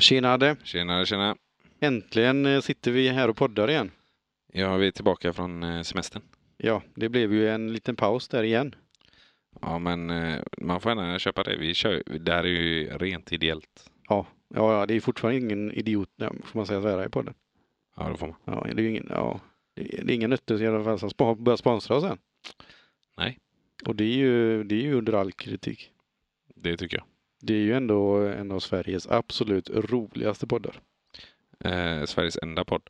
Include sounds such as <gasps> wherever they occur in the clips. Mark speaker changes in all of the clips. Speaker 1: Tjena Adde!
Speaker 2: Tjenare, tjena.
Speaker 1: Äntligen eh, sitter vi här och poddar igen.
Speaker 2: Ja, vi är tillbaka från eh, semestern.
Speaker 1: Ja, det blev ju en liten paus där igen.
Speaker 2: Ja, men eh, man får gärna köpa det. Vi kör, det här är ju rent ideellt.
Speaker 1: Ja, ja, ja det är fortfarande ingen idiot, ja, får man säga svära i podden.
Speaker 2: Ja, då får man.
Speaker 1: Ja, det är ju ingen, ja, det är det är ingen nötte i alla fall som spa- börjar sponsra oss än.
Speaker 2: Nej.
Speaker 1: Och det är ju, det är ju under all kritik.
Speaker 2: Det tycker jag.
Speaker 1: Det är ju ändå en av Sveriges absolut roligaste poddar
Speaker 2: Eh, Sveriges enda podd.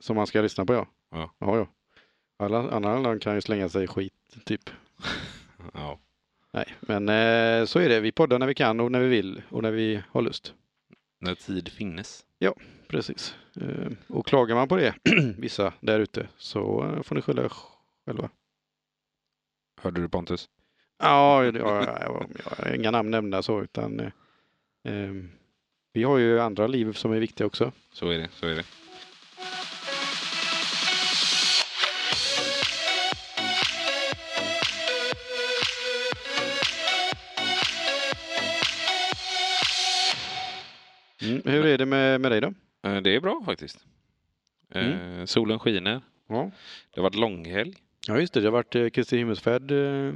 Speaker 1: som man ska lyssna på ja.
Speaker 2: Ja.
Speaker 1: Ja, ja. Alla andra annan kan ju slänga sig i skit typ.
Speaker 2: Ja,
Speaker 1: Nej, men eh, så är det. Vi poddar när vi kan och när vi vill och när vi har lust.
Speaker 2: när tid finnes.
Speaker 1: Precis. Eh, Och klagar man på det, <clears throat> vissa där ute, så eh, får ni skylla er själva.
Speaker 2: Hörde du Pontus?
Speaker 1: Ja, ja, ja, ja, ja, inga namn nämnda så, utan eh, eh, vi har ju andra liv som är viktiga också.
Speaker 2: Så är det, så är det.
Speaker 1: Mm. Hur är det med, med dig då?
Speaker 2: Eh, det är bra faktiskt. Eh, Solen skiner.
Speaker 1: Mm. Ja.
Speaker 2: Det har varit långhelg.
Speaker 1: ja, just det. Det har varit eh, Kristi himmelsfärd eh,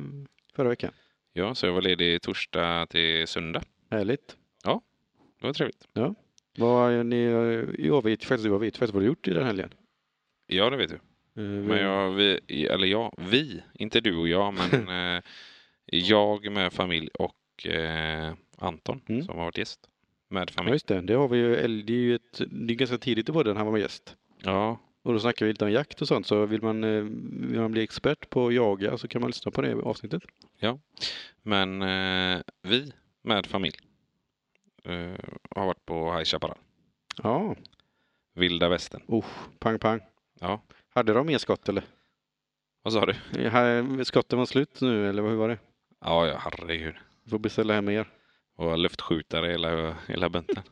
Speaker 1: förra veckan.
Speaker 2: Ja, så jag var ledig torsdag till söndag.
Speaker 1: Härligt.
Speaker 2: Det var trevligt.
Speaker 1: Vad, är ni, eh, jag vet faktiskt, jag vet faktiskt vad du gjort i den helgen.
Speaker 2: Ja, det vet du.
Speaker 1: Eh,
Speaker 2: Men jag, vi, eller jag, vi, inte du och jag,
Speaker 1: <laughs>
Speaker 2: men eh, jag med familj och eh, Anton
Speaker 1: Mm.
Speaker 2: som har varit gäst med
Speaker 1: Ja,
Speaker 2: familj.
Speaker 1: just det. Det har vi ju, eller det är ju ett, det är ganska tidigt i podden han var med gäst.
Speaker 2: Ja,
Speaker 1: Och då snackar vi lite om jakt och sånt, så vill man, eh, vill man bli expert på att jaga så kan man lyssna på det avsnittet.
Speaker 2: men eh, vi med familj eh, har varit på High Chaparral,
Speaker 1: Ja,
Speaker 2: vilda västern.
Speaker 1: pang pang.
Speaker 2: Ja.
Speaker 1: Hade de mer skott eller?
Speaker 2: Vad sa du?
Speaker 1: Eh, här- Skotten var slut nu eller hur var det?
Speaker 2: Ja, ja herregud.
Speaker 1: Vi får beställa hem mer.
Speaker 2: Och luftskjutare hela, hela bunten.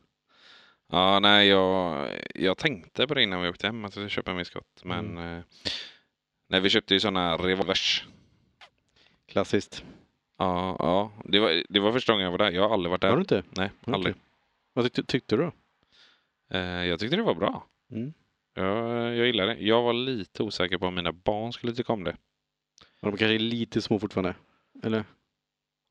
Speaker 2: ja, nej, jag, jag tänkte på det innan vi åkte hem att jag skulle köpa mig skott, men
Speaker 1: Mm.
Speaker 2: eh, nej, vi köpte ju sådana revolvers.
Speaker 1: Klassiskt.
Speaker 2: Ja, ja. Det, var, det var första gången jag var där. Jag har aldrig varit där.
Speaker 1: Har du inte?
Speaker 2: Nej,
Speaker 1: Okej.
Speaker 2: aldrig.
Speaker 1: Vad tyckte, tyckte du då?
Speaker 2: Eh, jag tyckte det var bra.
Speaker 1: Mm.
Speaker 2: Jag, jag gillade det. Jag var lite osäker på om mina barn skulle tycka om det.
Speaker 1: Var de kanske är lite små fortfarande? Eller,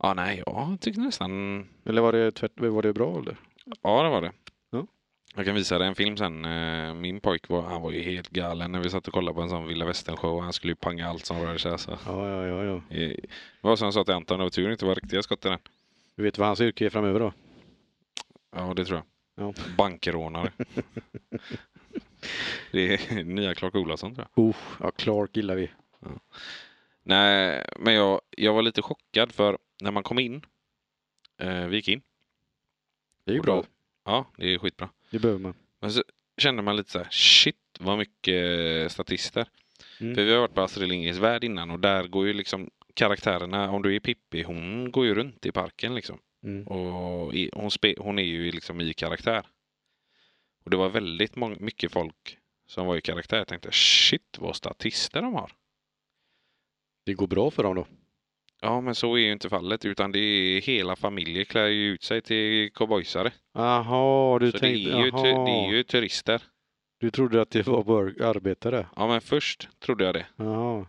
Speaker 2: Ja, nej, jag tyckte nästan...
Speaker 1: eller var, det tvärt, var det bra eller?
Speaker 2: Ja, det var det.
Speaker 1: Ja.
Speaker 2: Jag kan visa dig en film sen. Eh, Min pojk var, han var ju helt galen när vi satt och kollade på en sån vilda västern-show. Han skulle ju panga allt som rörde sig. Alltså.
Speaker 1: Ja, ja, ja, ja.
Speaker 2: Eh, Det var som jag sa till Anton, det var tur det inte var riktiga skott i den.
Speaker 1: Du vet vad hans yrke är framöver då?
Speaker 2: Ja, det tror jag.
Speaker 1: Ja. <laughs>
Speaker 2: Bankrånare. det är nya Clark Olofsson tror jag.
Speaker 1: Oh, ja, Clark gillar vi.
Speaker 2: Nej, men jag, jag var lite chockad för när man kom in, eh, vi gick in,
Speaker 1: Det är ju
Speaker 2: Och då-
Speaker 1: bra.
Speaker 2: ja det är skitbra.
Speaker 1: Det behöver man.
Speaker 2: Men så kände man lite så här, shit vad mycket statister.
Speaker 1: Mm.
Speaker 2: För vi har varit på Astrid Lindgrens Värld innan och där går ju liksom karaktärerna, om du är Pippi, hon går ju runt i parken liksom.
Speaker 1: Mm.
Speaker 2: Och i, hon, spe, hon är ju liksom i karaktär. Och det var väldigt mång, mycket folk som var i karaktär. Jag tänkte shit vad statister de har.
Speaker 1: Det går bra för dem då.
Speaker 2: Ja men så är ju inte fallet utan det är hela familjer klär ju ut sig till cowboysare.
Speaker 1: Jaha, du
Speaker 2: Så det
Speaker 1: tänkte...
Speaker 2: är, ju, tu-
Speaker 1: aha.
Speaker 2: det är ju turister.
Speaker 1: Du trodde att det var bör- arbetare?
Speaker 2: Ja men först trodde jag det.
Speaker 1: Jaha.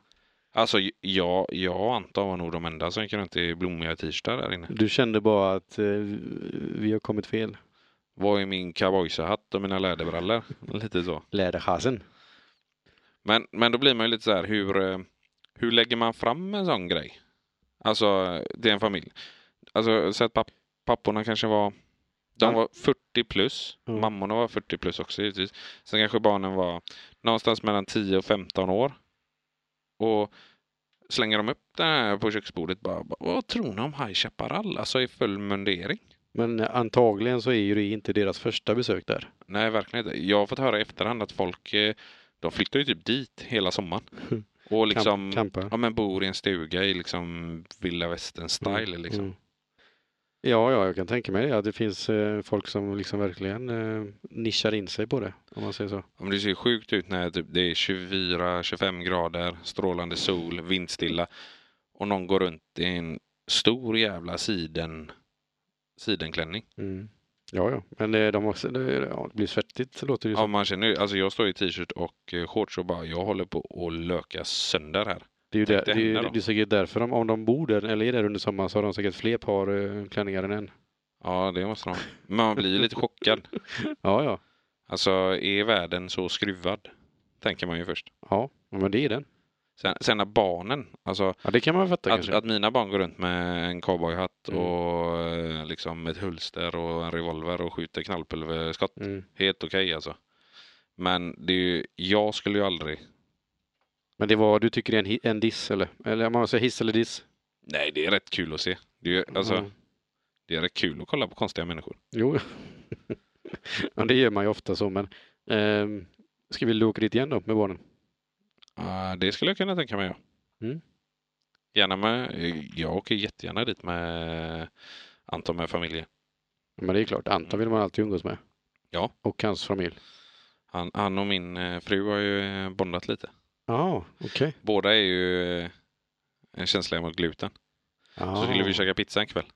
Speaker 2: Alltså j- jag, jag och Anton var nog de enda som gick runt i blommiga t-shirtar där inne.
Speaker 1: Du kände bara att eh, vi har kommit fel.
Speaker 2: Var är min cowboyhatt och mina läderbrallor? Lite så.
Speaker 1: Läderhasen.
Speaker 2: Men, men då blir man ju lite så här, hur, eh, hur lägger man fram en sån grej? Alltså, eh, till en familj. Alltså, så att papp, papporna kanske var... De
Speaker 1: Ja.
Speaker 2: var 40 plus.
Speaker 1: Mm.
Speaker 2: Mammorna var 40 plus också givetvis. Sen kanske barnen var någonstans mellan 10 och 15 år. Och slänger de upp den här på köksbordet bara, bara, vad tror ni om High Chaparral? Alltså i full mundering?
Speaker 1: Men antagligen så är ju det inte deras första besök där.
Speaker 2: Nej, verkligen inte. Jag har fått höra i efterhand att folk, eh, de flyttar ju typ dit
Speaker 1: <laughs>
Speaker 2: hela sommaren. Och
Speaker 1: Kamp-
Speaker 2: liksom...
Speaker 1: Kampa.
Speaker 2: Ja men bor i en stuga i liksom vilda västern style liksom.
Speaker 1: Mm. Ja, ja, jag kan tänka mig det. Att det finns eh, folk som liksom verkligen eh, nischar in sig på det. Om man säger så.
Speaker 2: Ja, men det ser ju sjukt ut när typ, det är 24-25 grader, strålande sol, vindstilla och någon går runt i en stor jävla siden sidenklänning.
Speaker 1: Mm. Ja, ja, men eh, de också, det, ja, det blir svettigt låter det ju
Speaker 2: Ja,
Speaker 1: som.
Speaker 2: man känner ju, alltså jag står i t-shirt och eh, shorts och bara jag håller på att löka sönder här.
Speaker 1: Det är ju där,
Speaker 2: tänkte
Speaker 1: det, är, ju-
Speaker 2: hända då.
Speaker 1: det är säkert därför de, om de bor där eller är där under sommaren så har de säkert fler par eh, klänningar än
Speaker 2: Mm.
Speaker 1: en.
Speaker 2: Ja, det måste de. Men man blir ju lite chockad.
Speaker 1: Ja, ja,
Speaker 2: Alltså, är världen så skruvad? Tänker man ju först.
Speaker 1: ja, men det är den.
Speaker 2: Sen, sen när barnen, alltså
Speaker 1: Ja, det kan man fatta
Speaker 2: att,
Speaker 1: kanske.
Speaker 2: att mina barn går runt med en cowboyhatt
Speaker 1: Mm.
Speaker 2: och eh, liksom ett hulster och en revolver och skjuter knallpulverskott.
Speaker 1: Mm.
Speaker 2: Helt okej alltså. Men det är ju, jag skulle ju aldrig...
Speaker 1: Men det var, du tycker det är en, hi- en diss eller? Eller om man säger hiss eller diss?
Speaker 2: Nej, det är rätt kul att se. Det är, ju- alltså,
Speaker 1: Ja.
Speaker 2: det är rätt kul att kolla på konstiga människor.
Speaker 1: Jo, <laughs> ja, det gör man ju ofta så, men ehm, ska vi åka dit igen då med barnen?
Speaker 2: Ja, det skulle jag kunna tänka mig. Ja.
Speaker 1: Mm.
Speaker 2: Gärna med, eh, jag åker jättegärna dit med Anton med familjen.
Speaker 1: Ja, Men det är klart, Anton vill man alltid umgås med.
Speaker 2: Ja.
Speaker 1: Och hans familj.
Speaker 2: Han, han och min eh, fru har ju eh, bondat lite.
Speaker 1: Ja, okej.
Speaker 2: Båda är ju eh, känsliga mot gluten.
Speaker 1: Ah.
Speaker 2: Så skulle vi käka pizza en kväll.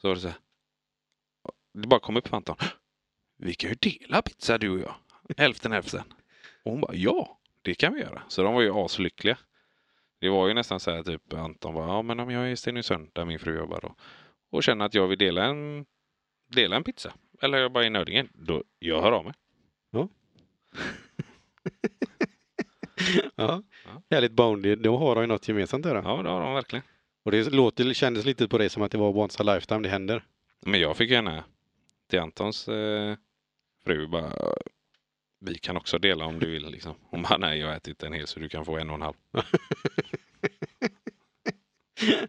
Speaker 2: Så var det så här. Det bara kom upp för Anton. Vi kan ju dela pizza du och jag. Hälften hälften. Och hon bara ja, det kan vi göra. Så de var ju aslyckliga. Det var ju nästan så här typ Anton bara ja men om jag är i Stenungsund där min fru jobbar då. Och känner att jag vill dela en, dela en pizza. Eller jag bara är i Nödingen. Då jag hör av mig.
Speaker 1: Ja.
Speaker 2: Ja.
Speaker 1: Härligt Boundy, då har de ju något gemensamt där. då.
Speaker 2: Ja det har de verkligen.
Speaker 1: Och det låter, kändes lite på dig som att det var once a lifetime det
Speaker 2: <laughs>
Speaker 1: händer.
Speaker 2: Men jag fick gärna till Antons eh, fru bara vi kan också dela om du vill liksom. Hon bara nej jag har ätit en hel så du kan få en och en halv.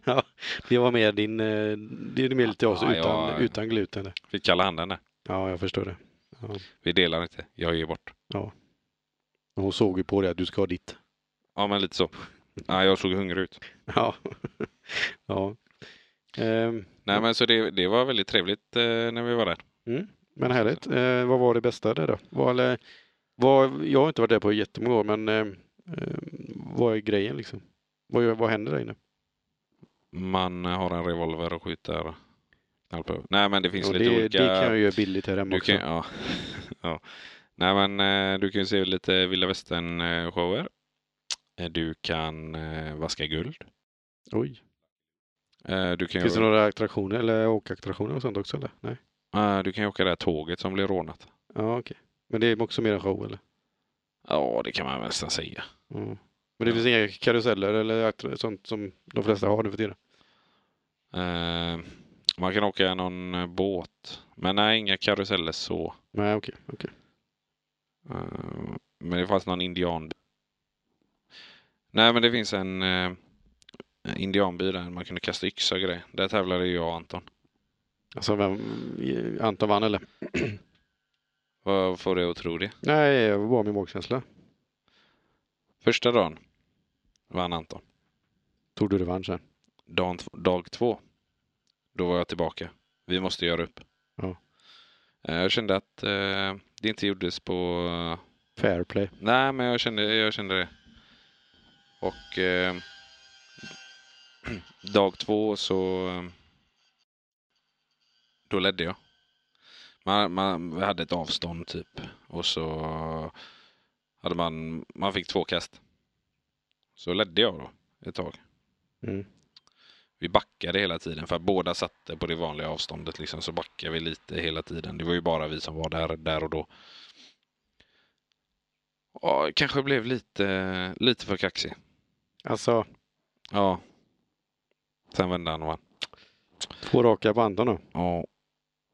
Speaker 1: ja, det var mer din, eh, det är mer lite oss
Speaker 2: Ja,
Speaker 1: utan,
Speaker 2: jag-
Speaker 1: utan gluten. där.
Speaker 2: Fick kalla handen där.
Speaker 1: Ja, jag förstår det.
Speaker 2: Vi delar inte. Jag ger bort.
Speaker 1: Hon såg ju på dig att du ska ha ditt.
Speaker 2: Ja men lite så. Ja, jag såg hungrig ut.
Speaker 1: <laughs> Ja. ja. Ehm,
Speaker 2: Nej men så det, det var väldigt trevligt eh, när vi var där.
Speaker 1: mm, men härligt. Eh, vad var det bästa där då? Vad, eller, vad, jag har inte varit där på jättemånga år, men eh, eh, vad är grejen liksom? Vad, gör- vad händer där inne?
Speaker 2: Man har en revolver och skjuter knallpulver. Nej men det finns
Speaker 1: Ja,
Speaker 2: lite
Speaker 1: det,
Speaker 2: olika.
Speaker 1: det kan jag göra billigt här hemma
Speaker 2: du
Speaker 1: också.
Speaker 2: kan, ja. <laughs> ja. Nej men eh, du kan ju se lite vilda västern eh, shower. Eh, Du kan eh, vaska guld.
Speaker 1: Oj.
Speaker 2: Eh, Du kan,
Speaker 1: Finns det
Speaker 2: ju,
Speaker 1: några attraktioner eller åkattraktioner och sånt också? Eller? Nej.
Speaker 2: eh, du kan ju åka det här tåget som blir rånat.
Speaker 1: Ja, okej. Men det är också mer en show eller?
Speaker 2: Ja det kan man väl nästan säga.
Speaker 1: Mm. Men det finns inga karuseller eller attra- sånt som de flesta har nu för tiden?
Speaker 2: Eh, man kan åka någon eh, båt. Men nej, inga karuseller så.
Speaker 1: Nej, okej. okej.
Speaker 2: Eh, men det fanns någon indian. Nej, men det finns en eh, indianby där man kunde kasta yxa och grejer. Där tävlade jag och Anton.
Speaker 1: Alltså, vem, Anton vann eller?
Speaker 2: Vad får dig att tro det?
Speaker 1: Nej, jag var bara min magkänsla.
Speaker 2: Första dagen vann Anton.
Speaker 1: Tog du revansch sen?
Speaker 2: Dag, dag två, då var jag tillbaka. Vi måste göra upp.
Speaker 1: Ja.
Speaker 2: Eh, jag kände att eh, det inte gjordes på eh,
Speaker 1: Fair play.
Speaker 2: Nej, men jag kände, jag kände det. Och eh, <clears throat> dag två så eh, då ledde jag. Man, man vi hade ett avstånd typ och så hade man, man fick två kast. Så ledde jag då ett tag.
Speaker 1: Mm.
Speaker 2: Vi backade hela tiden för att båda satte på det vanliga avståndet liksom så backade vi lite hela tiden. Det var ju bara vi som var där, där och då. Ja, kanske blev lite, lite för kaxig.
Speaker 1: Alltså,
Speaker 2: Ja. Sen vände han och vann.
Speaker 1: två raka på Anton då.
Speaker 2: Ja.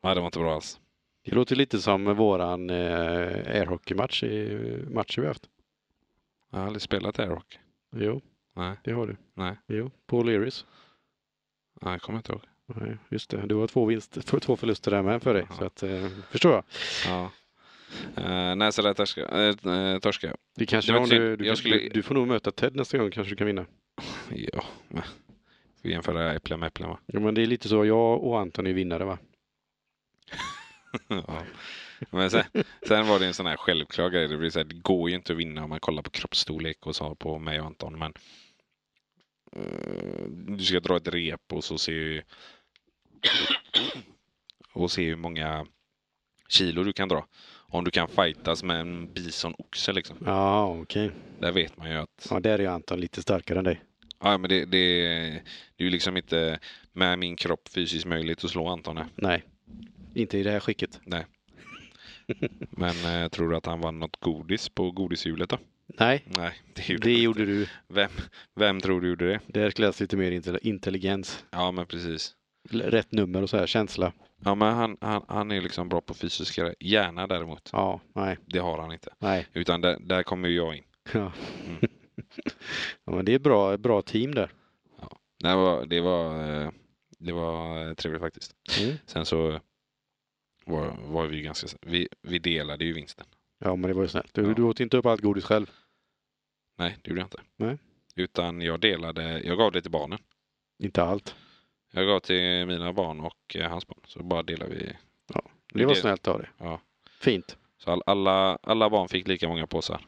Speaker 2: Nej, det var inte bra alls.
Speaker 1: Det låter lite som våran eh, airhockeymatch i matcher vi haft.
Speaker 2: Jag har aldrig spelat airhockey.
Speaker 1: Jo,
Speaker 2: Nej.
Speaker 1: det har du.
Speaker 2: Nej.
Speaker 1: Jo, Paul Learys.
Speaker 2: Nej, jag kommer inte ihåg.
Speaker 1: Nej, just det. Du har två, vinst, två- två förluster där med för dig.
Speaker 2: Jaha.
Speaker 1: Så att, eh, förstår jag.
Speaker 2: Ja. Uh, nej, så där torska, uh, torska jag.
Speaker 1: Det kanske
Speaker 2: Det var
Speaker 1: någon,
Speaker 2: synd.
Speaker 1: du, du,
Speaker 2: typ,
Speaker 1: kan-
Speaker 2: Jag skulle-
Speaker 1: du, du får nog möta Ted nästa gång kanske du kan vinna.
Speaker 2: Ja. men. Vi jämföra äpplen med äpplen va? <laughs>
Speaker 1: Ja, men det är lite så. Jag och Anton är vinnare va?
Speaker 2: ja. Men sen, sen var det en sån här självklar grej. Det, blir så här, det går ju inte att vinna om man kollar på kroppsstorlek och så på mig och Anton. Men eh, du ska dra ett rep och så ser ju och se hur många kilo du kan dra. Om du kan fightas med en bisonoxe liksom.
Speaker 1: <laughs> Ja, okej.
Speaker 2: Där vet man ju att
Speaker 1: Ja, där är jag Anton lite starkare än dig.
Speaker 2: ja, men det, det, det är ju liksom inte med min kropp fysiskt möjligt att slå Anton. här.
Speaker 1: Nej, inte i det här skicket.
Speaker 2: Men eh, tror du att han vann något godis på godishjulet då?
Speaker 1: Nej,
Speaker 2: Nej, det gjorde
Speaker 1: det
Speaker 2: han
Speaker 1: gjorde du.
Speaker 2: Vem, vem tror du gjorde det?
Speaker 1: Där krävs lite mer inte- intelligens.
Speaker 2: Ja, men precis.
Speaker 1: L- Rätt nummer och så här, känsla.
Speaker 2: Ja, men han, han, han är liksom bra på fysiska hjärna däremot.
Speaker 1: Ja, nej,
Speaker 2: Det har han inte.
Speaker 1: nej. <laughs>
Speaker 2: Utan där, där kommer ju jag in.
Speaker 1: Ja,
Speaker 2: Mm.
Speaker 1: <laughs> ja men det är bra, bra team där.
Speaker 2: Det var, det var, eh, det var eh, trevligt faktiskt.
Speaker 1: Mm.
Speaker 2: Sen så eh, var, var vi ju ganska... Vi, vi delade ju vinsten.
Speaker 1: Ja, men det var ju snällt. Du,
Speaker 2: Ja.
Speaker 1: du åt inte upp allt godis själv.
Speaker 2: Nej, det gjorde jag inte.
Speaker 1: Nej.
Speaker 2: Utan jag delade, jag gav det till barnen.
Speaker 1: Inte allt.
Speaker 2: Jag gav till mina barn och eh, hans barn. Så bara delade vi.
Speaker 1: Det var
Speaker 2: Det-
Speaker 1: snällt av dig.
Speaker 2: Ja.
Speaker 1: Fint.
Speaker 2: Så all, alla, alla barn fick lika många påsar.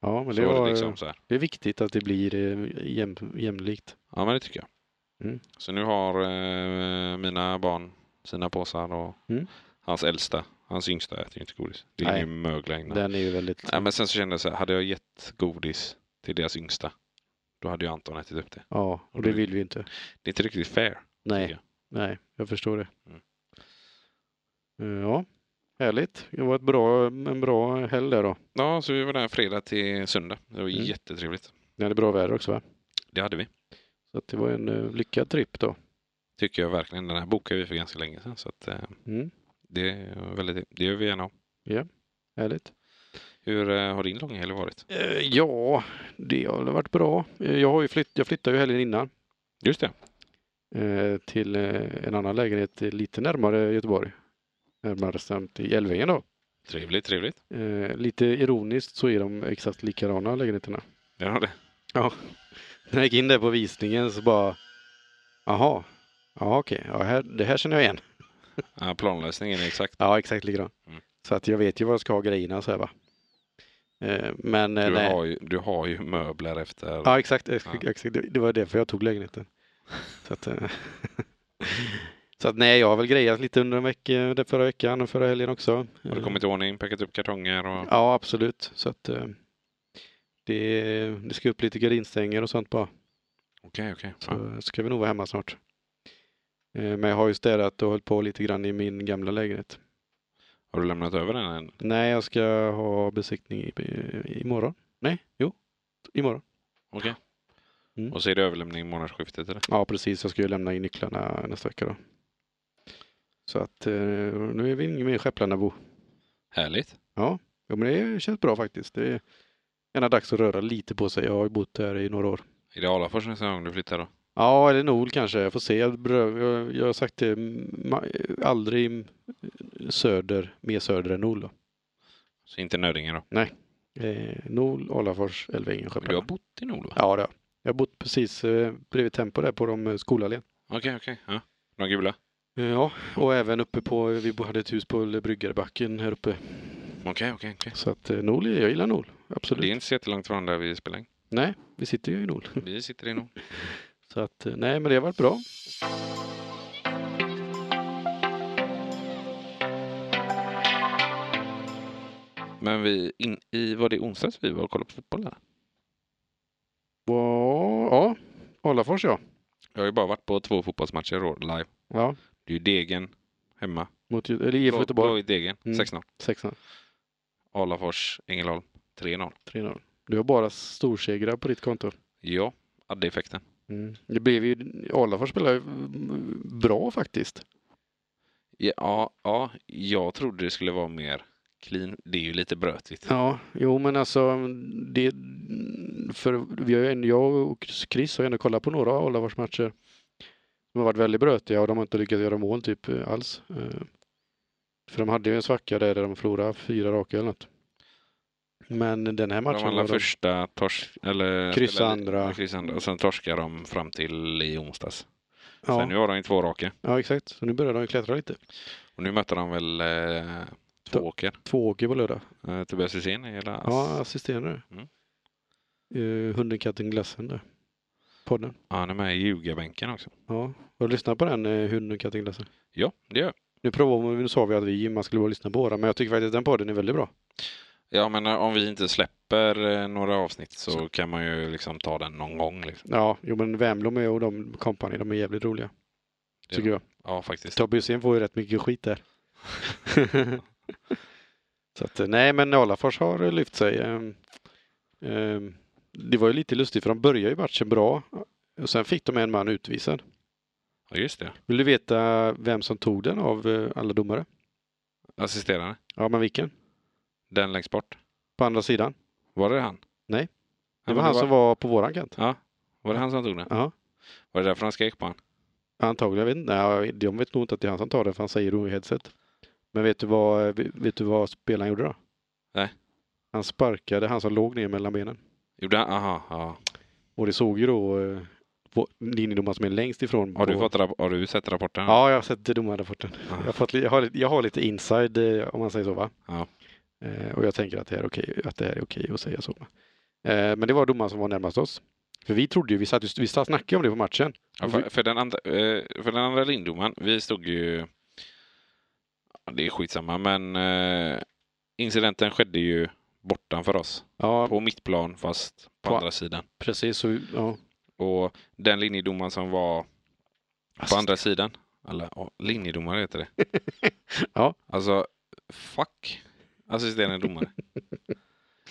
Speaker 1: Ja, men
Speaker 2: så
Speaker 1: det,
Speaker 2: var
Speaker 1: var,
Speaker 2: det liksom så här.
Speaker 1: det är viktigt att det blir eh, jäm, jämlikt.
Speaker 2: Ja, men det tycker jag.
Speaker 1: Mm.
Speaker 2: Så nu har eh, mina barn sina påsar och
Speaker 1: Mm.
Speaker 2: hans äldsta, hans yngsta äter ju inte godis. Det är
Speaker 1: Nej.
Speaker 2: ju mögla innan.
Speaker 1: Den är ju väldigt...
Speaker 2: Nej, men sen så kände jag så här, hade jag gett godis till deras yngsta, då hade ju Anton ätit upp det.
Speaker 1: Ja, och det vill vi ju inte.
Speaker 2: Det är inte riktigt fair.
Speaker 1: Nej,
Speaker 2: tycker
Speaker 1: nej, jag förstår det.
Speaker 2: Mm.
Speaker 1: Eh, Ja, härligt. Det var ett bra, en bra helg där då.
Speaker 2: Ja, så vi var där fredag till söndag. Det var
Speaker 1: Mm.
Speaker 2: jättetrevligt.
Speaker 1: Det hade bra väder också va?
Speaker 2: Det hade vi.
Speaker 1: Så att det var en eh, lyckad tripp då.
Speaker 2: Tycker jag verkligen. Den här bokade vi för ganska länge sedan. Så att, eh,
Speaker 1: Mm,
Speaker 2: det, är väldigt, det gör vi gärna om.
Speaker 1: härligt.
Speaker 2: Hur eh, har din långa helg varit?
Speaker 1: Eh, Ja, det har väl varit bra. Eh, Jag, har ju flytt, jag flyttade ju helgen innan
Speaker 2: Just det.
Speaker 1: eh, till eh, en annan lägenhet eh, lite närmare Göteborg. Närmare bestämt i Älvängen då.
Speaker 2: Trevligt, trevligt.
Speaker 1: Eh, Lite ironiskt så är de exakt likadana lägenheterna.
Speaker 2: Där har det.
Speaker 1: När jag gick in där på visningen så bara, jaha, ja okej, ja, här, det här känner jag igen.
Speaker 2: Ja, planlösningen är exakt.
Speaker 1: Ja, exakt likadan.
Speaker 2: Mm.
Speaker 1: Så att jag vet ju var jag ska ha grejerna så här va. Eh, Men eh,
Speaker 2: Du
Speaker 1: nej.
Speaker 2: har, ju, du har ju möbler efter.
Speaker 1: Ja, exakt. ex-
Speaker 2: Ja.
Speaker 1: exakt. Det- Det var därför jag tog
Speaker 2: <laughs>
Speaker 1: lägenheten. Så att, eh, <laughs> så att nej, jag har väl grejat lite under en vecka, den förra veckan och förra helgen också. Eh,
Speaker 2: Har du kommit i ordning, packat upp kartonger och...
Speaker 1: Ja, absolut. Så att eh, det, det ska upp lite gardinstänger och sånt bara.
Speaker 2: Okej, okej.
Speaker 1: Så
Speaker 2: Ja.
Speaker 1: ska vi nog vara hemma snart. Eh, Men jag har ju städat och hållit på lite grann i min gamla lägenhet.
Speaker 2: Har du lämnat över den än?
Speaker 1: Nej, jag ska ha besiktning i, i, imorgon. Nej, jo, imorgon.
Speaker 2: Okej.
Speaker 1: Mm.
Speaker 2: Och så är det överlämning i månadsskiftet eller?
Speaker 1: Ja, precis. Jag ska ju lämna in nycklarna nästa vecka då. Så att eh, nu är vi inne med Skepplarnabo.
Speaker 2: Härligt.
Speaker 1: Ja, men det känns bra faktiskt. Det är gärna dags att röra lite på sig. Jag har ju bott här i några år.
Speaker 2: Är det Alafors nästa gång du flyttar då?
Speaker 1: Ja, eller Nol kanske. Jag får se. Jag, brö- jag, jag har sagt det, ma- aldrig söder, mer söder än Nol då.
Speaker 2: Så inte Nödinge då?
Speaker 1: Eh, Nol, Alafors, Älvängen,
Speaker 2: Men du har
Speaker 1: Skepplarna.
Speaker 2: bott i Nord va?
Speaker 1: Ja, det har jag. Jag har bott precis eh, bredvid Tempo där på de eh, skolallén.
Speaker 2: Okej, okej. Ja. De gula?
Speaker 1: Ja, och även uppe på, vi hade ett hus på Bryggarbacken här uppe.
Speaker 2: Okej, okej, okej.
Speaker 1: Så att eh, Nol, är- jag gillar Nol.
Speaker 2: Det
Speaker 1: Absolut.
Speaker 2: är inte så jättelångt från där vi spelar in.
Speaker 1: Nej, vi sitter ju i Nol.
Speaker 2: Vi sitter i Nord.
Speaker 1: Så att eh, nej, men det har varit bra.
Speaker 2: Men vi, in, i, var det i onsdags vi var och kollade på fotboll där?
Speaker 1: Wow, ja, Alafors ja.
Speaker 2: Jag har ju bara varit på två fotbollsmatcher i år live.
Speaker 1: Ja,
Speaker 2: Det är ju Degen hemma.
Speaker 1: mot Gö- eller IFK
Speaker 2: Blå-
Speaker 1: Göteborg.
Speaker 2: Blåvitt Degen,
Speaker 1: Mm.
Speaker 2: 6-0.
Speaker 1: 6-0,
Speaker 2: Alafors, Ängelholm, 3-0.
Speaker 1: 3-0. Du har bara storsegrar på ditt konto. Mm.
Speaker 2: Ja, hade effekten.
Speaker 1: Det blev ju, Alafors spelar ju mm, bra faktiskt.
Speaker 2: Ja, ja, jag trodde det skulle vara mer clean. Det är ju lite brötigt.
Speaker 1: Ja, jo men alltså det, för vi har ju ändå, jag och Chris har ju ändå kollat på några Alafors matcher. De har varit väldigt brötiga och de har inte lyckats göra mål typ eh, alls. Eh, För de hade ju en svacka där, där de förlorade fyra raka eller något. Men den här
Speaker 2: De
Speaker 1: matchen
Speaker 2: alla
Speaker 1: var de,
Speaker 2: första tors... Eller
Speaker 1: Kryssa
Speaker 2: spelade-
Speaker 1: andra.
Speaker 2: Kryssa andra. Och sen torskar de fram till i onsdags. Sen
Speaker 1: ja,
Speaker 2: nu har de ju två raka.
Speaker 1: ja exakt, så nu börjar de ju klättra lite.
Speaker 2: Och nu möter de väl eh, Tvååker.
Speaker 1: Två åker på lördag.
Speaker 2: Eh, Tobias Hysén i hela
Speaker 1: Ja,
Speaker 2: ass.
Speaker 1: assisterande.
Speaker 2: Mm.
Speaker 1: Eh, hunden, katten, glassen där. Podden.
Speaker 2: Ja, han är med i ljugarbänken också.
Speaker 1: Ja, har du lyssnat på den, eh, hunden, katten, glassen?
Speaker 2: Ja, det gör jag.
Speaker 1: Nu provar vi, nu sa vi att vi, man skulle bara lyssna på våra, men jag tycker faktiskt att den podden är väldigt bra.
Speaker 2: Ja, men eh, om vi inte släpper eh, några avsnitt så kan man ju liksom ta den någon gång. Liksom.
Speaker 1: Ja, jo men Vemlom är- och de company, de är jävligt roliga.
Speaker 2: Ja.
Speaker 1: Tycker jag.
Speaker 2: Ja, faktiskt.
Speaker 1: Tobbe Hysén får ju rätt mycket skit <laughs> där. så att, eh, nej men Alafors har eh, lyft sig. Ehm, ehm, Det var ju lite lustigt för de började ju matchen bra. Och sen fick de en man utvisad.
Speaker 2: Ja, just det.
Speaker 1: Vill du veta vem som tog den av eh, alla domare?
Speaker 2: Assisterande.
Speaker 1: Ja men vilken?
Speaker 2: Den längst bort.
Speaker 1: På andra sidan.
Speaker 2: Var det han?
Speaker 1: Nej. Det
Speaker 2: Ja, men
Speaker 1: var han som var på våran kant.
Speaker 2: Ja, var det han som tog den?
Speaker 1: Ja.
Speaker 2: Var det därför han skrek på han?
Speaker 1: Antagligen, jag vet inte. Nej, de vet nog inte att det är han som tar det för han säger det i headset. Men vet du vad, eh, vet du vad spelaren gjorde då?
Speaker 2: Nej.
Speaker 1: Han sparkade han som låg ner mellan benen.
Speaker 2: Gjorde han? Aha, ja.
Speaker 1: Och det såg ju då eh, vår- linjedomaren som är längst ifrån.
Speaker 2: Har du,
Speaker 1: på-
Speaker 2: fått Ah. rapp- har du sett rapporten?
Speaker 1: Ja, jag har sett domarrapporten.
Speaker 2: Ja.
Speaker 1: Jag, har fått, li- jag, har, lite- jag har lite inside, eh, om man säger så va?
Speaker 2: Ja.
Speaker 1: Eh, och jag tänker att det här är okej, att det här är okej att säga så. va? Eh, men det var domaren som var närmast oss. För vi trodde ju, vi satt, ju- vi satt snackade ju om det på matchen.
Speaker 2: Ja, för, för, den andra, eh, för den andra lindomaren, vi stod ju... Ja, Det är skitsamma, men eh, incidenten skedde ju bortanför oss.
Speaker 1: Ja,
Speaker 2: På mittplan, fast på
Speaker 1: På-
Speaker 2: andra sidan.
Speaker 1: precis. Så, vi- ja.
Speaker 2: Och den linjedomaren som var på
Speaker 1: Assist-
Speaker 2: andra sidan, eller ja, linjedomare heter det.
Speaker 1: <laughs> Ja.
Speaker 2: Alltså, fuck assisterande domare.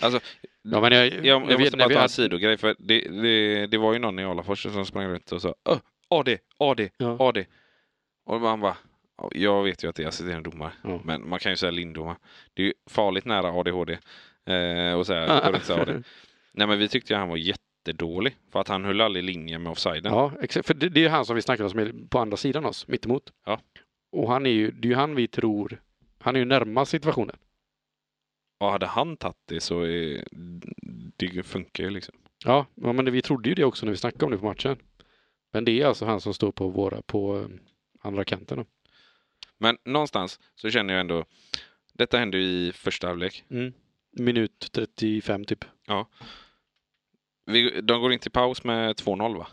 Speaker 2: Alltså,
Speaker 1: Ja, men jag, jag,
Speaker 2: Jag, jag,
Speaker 1: vet
Speaker 2: måste
Speaker 1: när
Speaker 2: bara
Speaker 1: vi
Speaker 2: ta en
Speaker 1: hade,
Speaker 2: sidogrej för det, det, det var ju någon i Alafors som sprang runt och sa "Ö, AD, AD,
Speaker 1: Ja.
Speaker 2: AD. Och man bara, "Ja, jag vet ju att det är assisterande domare,
Speaker 1: Ja.
Speaker 2: men man kan ju säga linddomare. Det är ju farligt nära ADHD. Eh, och så här,
Speaker 1: Ah.
Speaker 2: går runt och säga AD. Nej men vi tyckte ju han var jättedålig för att han höll aldrig linjen med offsiden.
Speaker 1: <laughs> Ja, exakt. För det, det är han som vi snackade om som är på andra sidan oss, mittemot.
Speaker 2: Ja.
Speaker 1: Och han är ju, det är ju han vi tror, han är ju närmast situationen.
Speaker 2: Och hade han tagit det så är, det funkar ju liksom.
Speaker 1: Ja, ja, men det, vi trodde ju det också när vi snackade om det på matchen. Men det är alltså han som står på våra, på eh, andra kanten. Då.
Speaker 2: Men någonstans så känner jag ändå, detta hände ju i första halvlek.
Speaker 1: Minut 35 typ.
Speaker 2: Vi, de går in till paus med 2-0 va?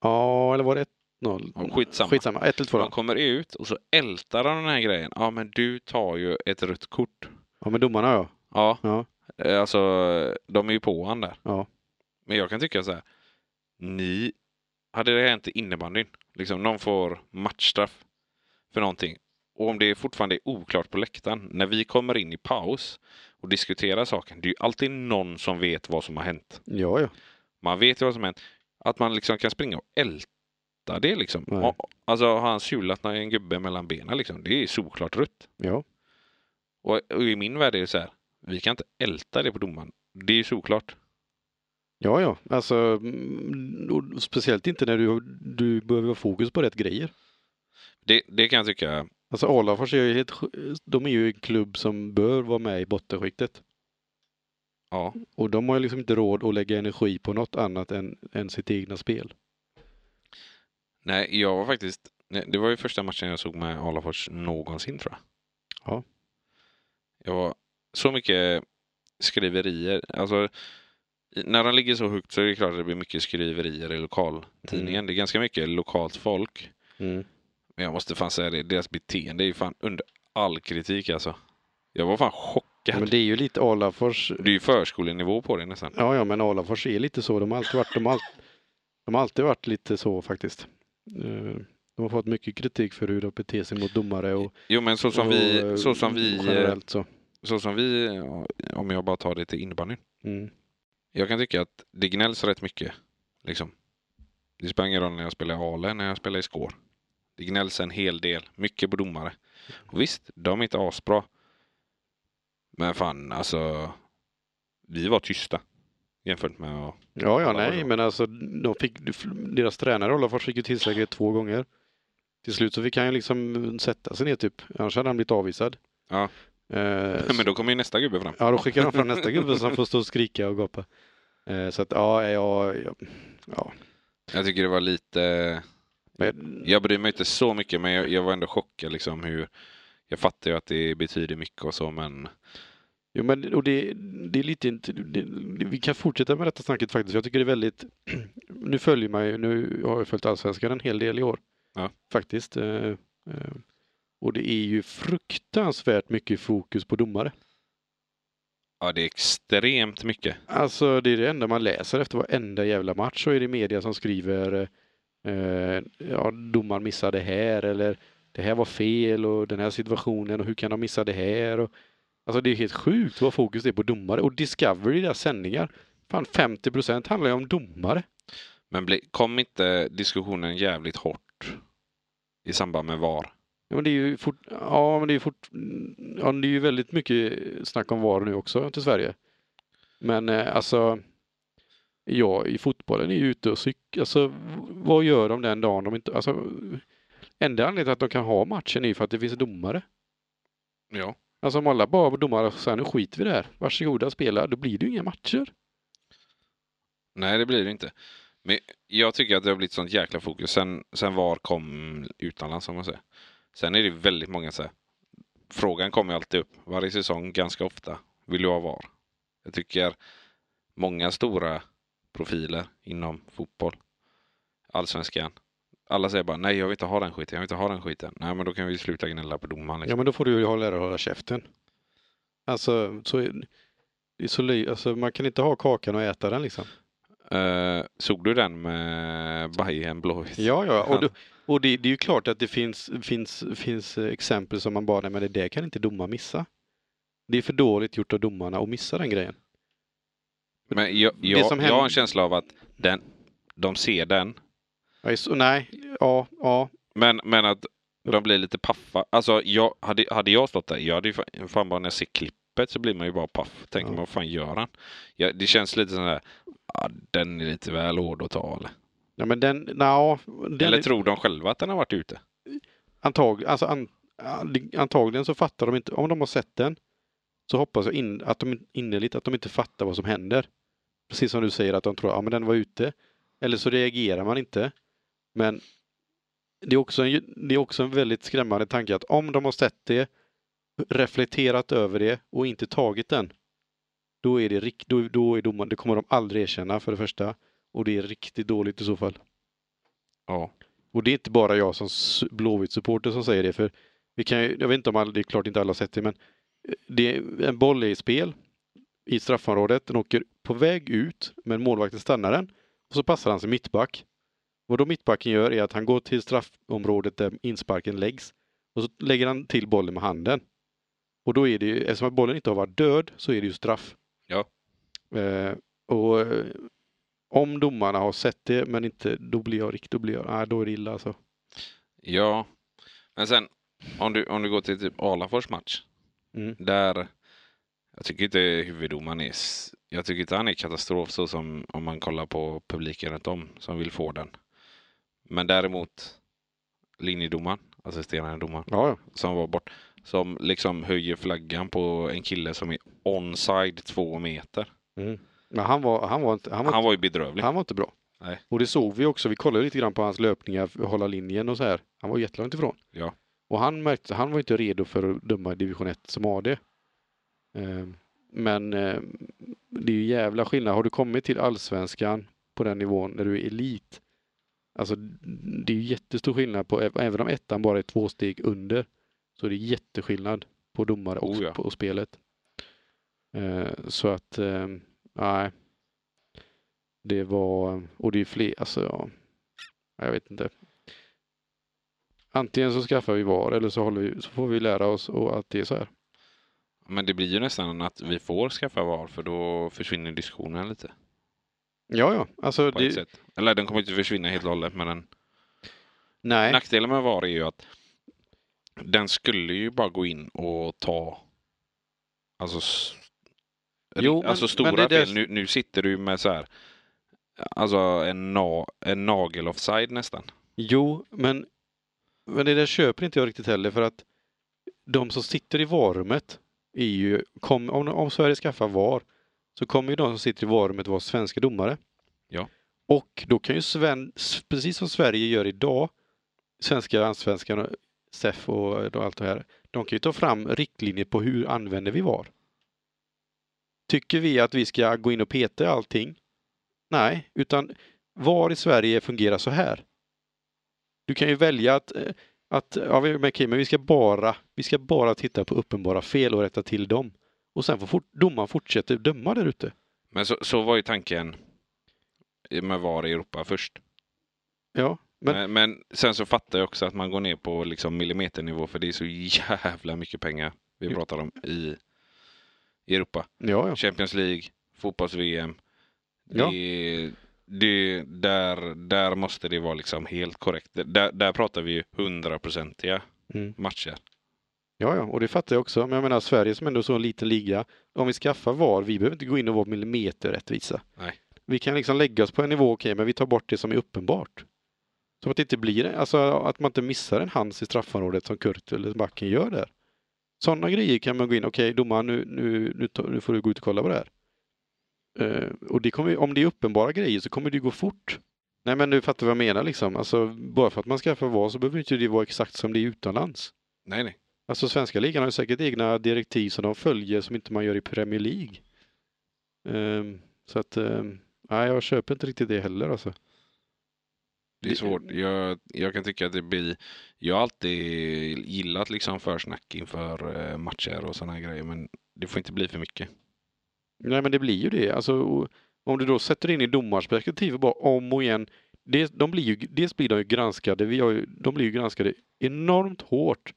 Speaker 1: Ja, eller var det 1-0?
Speaker 2: Ja, skitsamma.
Speaker 1: Skitsamma, 1 eller 2
Speaker 2: De kommer ut och så ältar de den här grejen. Ja men du tar ju ett rött kort.
Speaker 1: Ja, men domarna ja.
Speaker 2: Ja,
Speaker 1: Ja,
Speaker 2: eh, alltså de är ju på han där.
Speaker 1: Ja.
Speaker 2: Men jag kan tycka så här. Ni, hade det hänt i innebandyn, liksom någon får matchstraff för någonting. Och om det fortfarande är oklart på läktaren, när vi kommer in i paus och diskuterar saken, det är ju alltid någon som vet vad som har hänt.
Speaker 1: ja. ja.
Speaker 2: Man vet ju vad som hänt. Att man liksom kan springa och älta det liksom.
Speaker 1: Nej.
Speaker 2: Och, alltså har han tjulat en gubbe mellan benen liksom. Det är såklart rött.
Speaker 1: ja.
Speaker 2: Och, och i min värld är det så här. Vi kan inte älta det på domaren. Det är ju såklart.
Speaker 1: Ja, ja, alltså mm, och speciellt inte när du, du behöver ha fokus på rätt grejer.
Speaker 2: Det, det kan jag tycka.
Speaker 1: Alltså Alafors är ju helt, sj- de är ju en klubb som bör vara med i bottenskiktet.
Speaker 2: Ja.
Speaker 1: Och de har ju liksom inte råd att lägga energi på något annat än, än sitt egna spel.
Speaker 2: Nej, jag var faktiskt. Nej, det var ju första matchen jag såg med Alafors någonsin tror jag.
Speaker 1: Ja.
Speaker 2: Jag var så mycket skriverier. Alltså i- när han ligger så högt så är det klart att det blir mycket skriverier i lokaltidningen.
Speaker 1: Mm.
Speaker 2: Det är ganska mycket lokalt folk. Mm. Men jag måste fan säga det, deras beteende är ju fan under all kritik alltså. Jag var fan chockad.
Speaker 1: Ja, men det är ju lite Alafors.
Speaker 2: Det är ju förskolenivå på det nästan.
Speaker 1: Ja, ja, men Alafors är lite så. De har alltid varit, de har, all- de har alltid varit lite så faktiskt. Eh, De har fått mycket kritik för hur de beter sig mot domare och,
Speaker 2: Jo men så som
Speaker 1: och
Speaker 2: vi,
Speaker 1: eh,
Speaker 2: så som vi, eh,
Speaker 1: generellt så.
Speaker 2: så som vi, ja, om jag bara tar det till innebandyn.
Speaker 1: Mm.
Speaker 2: Jag kan tycka att det gnälls rätt mycket. Liksom. Det spelar ingen roll när jag spelar i Ale, när jag spelar i Skår. Det gnälls en hel del, mycket på domare. Och visst, de är inte asbra. Men fan alltså, vi var tysta jämfört med att
Speaker 1: Ja, ja,
Speaker 2: Alla var
Speaker 1: nej,
Speaker 2: så.
Speaker 1: men alltså de fick, deras tränare Olafors fick ju tillsägelse två gånger. Till slut så fick han ju liksom sätta sig ner typ, annars hade han blivit avvisad.
Speaker 2: Ja. <laughs>
Speaker 1: Eh,
Speaker 2: Men då kommer ju nästa gubbe fram.
Speaker 1: Ja, då skickar de fram nästa gubbe som får stå och skrika och gapa. Eh, så att ja, ja, ja, ja.
Speaker 2: Jag tycker det var lite...
Speaker 1: Men,
Speaker 2: Jag bryr mig inte så mycket men jag, jag var ändå chockad liksom hur... Jag fattar ju att det betyder mycket och så men...
Speaker 1: jo, men och det, det är lite inte, det, det- vi kan fortsätta med detta snacket faktiskt. Jag tycker det är väldigt, <clears throat> nu följer man ju, nu har jag följt allsvenskan en hel del i år.
Speaker 2: Ja.
Speaker 1: Faktiskt. Eh, eh, Och det är ju fruktansvärt mycket fokus på domare.
Speaker 2: Ja, det är extremt mycket.
Speaker 1: Alltså det är det enda man läser efter varenda jävla match så är det media som skriver eh, ja, domaren missade här eller det här var fel och den här situationen och hur kan de missa det här? Och, alltså det är helt sjukt vad fokus är på domare och Discovery deras sändningar. Fan 50 procent handlar ju om domare.
Speaker 2: Men bli, kom inte diskussionen jävligt hårt i samband med VAR?
Speaker 1: Ja, men det är ju fort, ja, men det är ju fort, ja, det är ju väldigt mycket snack om VAR nu också till Sverige. Men eh, alltså, ja, i fotbollen är ju ute och cyklar. Alltså, vad gör de den dagen de inte, alltså, enda anledningen till att de kan ha matchen är ju för att det finns domare.
Speaker 2: Ja.
Speaker 1: Alltså om alla bara var domare och sa nu skiter vi i det här, varsågoda spela, då blir det ju inga matcher.
Speaker 2: Nej, det blir det inte. Men jag tycker att det har blivit sånt jäkla fokus sen, sen VAR kom utomlands, om man säger. Sen är det väldigt många så här. Frågan kommer alltid upp varje säsong, ganska ofta. Vill du ha VAR? Jag tycker många stora profiler inom fotboll, allsvenskan. Alla säger bara nej, jag vill inte ha den skiten, jag vill inte ha den skiten. Nej, men då kan vi sluta gnälla på domaren.
Speaker 1: Ja
Speaker 2: Liksom.
Speaker 1: men då får du ju hålla, lära dig hålla käften. Alltså, så, är- det är så, ly- alltså, man kan inte ha kakan och äta den liksom.
Speaker 2: Eh, såg du den med Bayern Blåvitt?
Speaker 1: Ja, ja,
Speaker 2: Han-
Speaker 1: och, då, och det, det är ju klart att det finns, finns, finns eh, exempel som man bara, nej men det där kan inte domaren missa. Det är för dåligt gjort av domarna att missa den grejen.
Speaker 2: Men jag,
Speaker 1: Det
Speaker 2: jag,
Speaker 1: som
Speaker 2: jag har
Speaker 1: händer-
Speaker 2: en känsla av att den, de ser den,
Speaker 1: Ja, så, nej, ja, ja,
Speaker 2: men, men att de blir lite paffa. Alltså, jag, hade, hade jag stått där, jag hade ju fan, fan bara när jag ser klippet så blir man ju bara paff. Tänker
Speaker 1: Ja.
Speaker 2: man, vad fan gör han? Ja, det känns lite sån där, ja, den är lite väl hård att ta eller?
Speaker 1: ja men den, nja, den
Speaker 2: Eller tror de själva att den har varit ute?
Speaker 1: antag, alltså, an, antagligen så fattar de inte, om de har sett den så hoppas jag in, att de innerligt att de inte fattar vad som händer. Precis som du säger att de tror, ja men den var ute. Eller så reagerar man inte. Men det är också en, det är också en väldigt skrämmande tanke att om de har sett det, reflekterat över det och inte tagit den, då är det rikt, då, då är domaren, det kommer de aldrig erkänna för det första. Och det är riktigt dåligt i så fall.
Speaker 2: Ja.
Speaker 1: Och det är inte bara jag som s- Blåvitt-supporter som säger det, för vi kan ju, jag vet inte om alla, det är klart inte alla har sett det, men eh, det, en boll är i spel i straffområdet, den åker på väg ut, men målvakten stannar den och så passar han sin mittback. Vad då mittbacken gör är att han går till straffområdet där insparken läggs och så lägger han till bollen med handen. Och då är det ju, eftersom att bollen inte har varit död så är det ju straff.
Speaker 2: Ja.
Speaker 1: Eh, och eh, om domarna har sett det men inte, då blir jag riktigt, då blir jag, nej då är det illa alltså.
Speaker 2: Ja. Men sen, om du, om du går till typ Alafors match.
Speaker 1: Mm.
Speaker 2: Där, jag tycker inte huvuddomaren är, s- jag tycker inte han är katastrof så som om man kollar på publiken runt om som vill få den. Men däremot linjedomaren, assisterande domaren,
Speaker 1: Ja, ja.
Speaker 2: som var bort, som liksom höjer flaggan på en kille som är onside två meter.
Speaker 1: Men han var, han var, inte, han var,
Speaker 2: Han var ju bedrövlig.
Speaker 1: han var inte bra.
Speaker 2: Nej.
Speaker 1: Och det såg vi också. Vi kollade lite grann på hans löpningar, för att hålla linjen och så här. Han var jättelångt ifrån.
Speaker 2: Ja.
Speaker 1: Och han märkte, han var inte redo för att döma division 1 som AD. Ehm, Men ehm, det är ju jävla skillnad. Har du kommit till allsvenskan på den nivån när du är elit? Alltså det är ju jättestor skillnad på, även om ettan bara är två steg under, så är det jätteskillnad på domare och,
Speaker 2: Oh ja.
Speaker 1: på, och spelet. Ehm, Så att, ehm, nej. Det var, och det är fler, alltså ja. Jag vet inte. Antingen så skaffar vi VAR eller så, håller vi, så får vi lära oss och att det är så här.
Speaker 2: Men det blir ju nästan att vi får skaffa VAR för då försvinner diskussionen lite.
Speaker 1: Ja, ja. Alltså,
Speaker 2: På ett
Speaker 1: det,
Speaker 2: sätt. Eller den kommer inte försvinna helt och hållet men den
Speaker 1: nej.
Speaker 2: Nackdelen med VAR är ju att den skulle ju bara gå in och ta alltså, s-
Speaker 1: Jo, men-
Speaker 2: alltså
Speaker 1: men
Speaker 2: stora
Speaker 1: det är det-
Speaker 2: fel. Nu, nu sitter du med så här alltså en, na, en nagel offside nästan.
Speaker 1: Jo, men, men det där köper inte jag riktigt heller för att de som sitter i varummet är ju, kom, om, om Sverige skaffar VAR så kommer ju de som sitter i varummet vara svenska domare.
Speaker 2: Ja.
Speaker 1: Och då kan ju Sven, s- precis som Sverige gör idag, svenska, allsvenskan, och SEF och då allt det här, de kan ju ta fram riktlinjer på hur använder vi VAR. Tycker vi att vi ska gå in och peta i allting? Nej, utan VAR i Sverige fungerar så här. Du kan ju välja att eh, Att, ja, vi- men okej, men vi ska bara, vi ska bara titta på uppenbara fel och rätta till dem. Och sen får fort, domaren fortsätta döma där ute.
Speaker 2: Men så, så var ju tanken i- med VAR i Europa först.
Speaker 1: Ja, men-
Speaker 2: Men, men, sen så fattar jag också att man går ner på liksom millimeternivå för det är så jävla mycket pengar vi
Speaker 1: Jo.
Speaker 2: pratar om i i Europa.
Speaker 1: ja, ja.
Speaker 2: Champions League, fotbolls-VM.
Speaker 1: Ja.
Speaker 2: Det, det, där, där måste det vara liksom helt korrekt. Där, där pratar vi ju hundraprocentiga
Speaker 1: Mm.
Speaker 2: matcher.
Speaker 1: Ja, ja, och det fattar jag också. Men jag menar Sverige som ändå är så en liten liga. Om vi skaffar VAR, vi behöver inte gå in och vara millimeterrättvisa.
Speaker 2: Nej.
Speaker 1: Vi kan liksom lägga oss på en nivå, okej, men vi tar bort det som är uppenbart. Så att det inte blir, alltså att man inte missar en hands i straffområdet som Kurt eller backen gör där. Sådana grejer kan man gå in, okej domaren nu, nu, nu, tar- nu får du gå ut och kolla på det här. Eh, och det kommer, om det är uppenbara grejer så kommer det ju gå fort. Nej men nu fattar du vad jag menar liksom. Alltså bara för att man skaffar VAR så behöver inte det vara exakt som det är utomlands.
Speaker 2: Nej, nej.
Speaker 1: Alltså svenska ligan har ju säkert egna direktiv som de följer som inte man gör i Premier League. Ehm, så att, ehm, nej jag köper inte riktigt det heller alltså.
Speaker 2: Det är
Speaker 1: Det-
Speaker 2: svårt. Jag, jag kan tycka att det blir... Jag har alltid gillat liksom försnack inför eh, matcher och sådana grejer men det får inte bli för mycket.
Speaker 1: Nej men det blir ju det. Alltså, och om du då sätter det in i domarperspektiv och bara om och igen. Det, de blir ju, dels blir de ju granskade, vi har ju, de blir ju granskade enormt hårt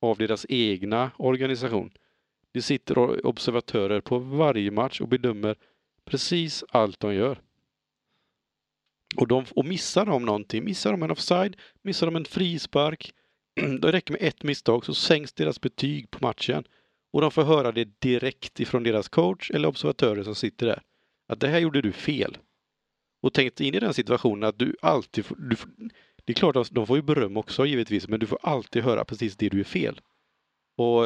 Speaker 1: av deras egna organisation. Det sitter o- observatörer på varje match och bedömer precis allt de gör. Och, de, och missar de någonting, missar de en offside, missar de en frispark, <clears throat> det räcker med ett misstag så sänks deras betyg på matchen. Och de får höra det direkt ifrån deras coach eller observatörer som sitter där. Att det här gjorde du fel. Och tänk dig in i den situationen att du alltid får, du får, Det är klart att de får ju beröm också givetvis men du får alltid höra precis det du är fel. Och,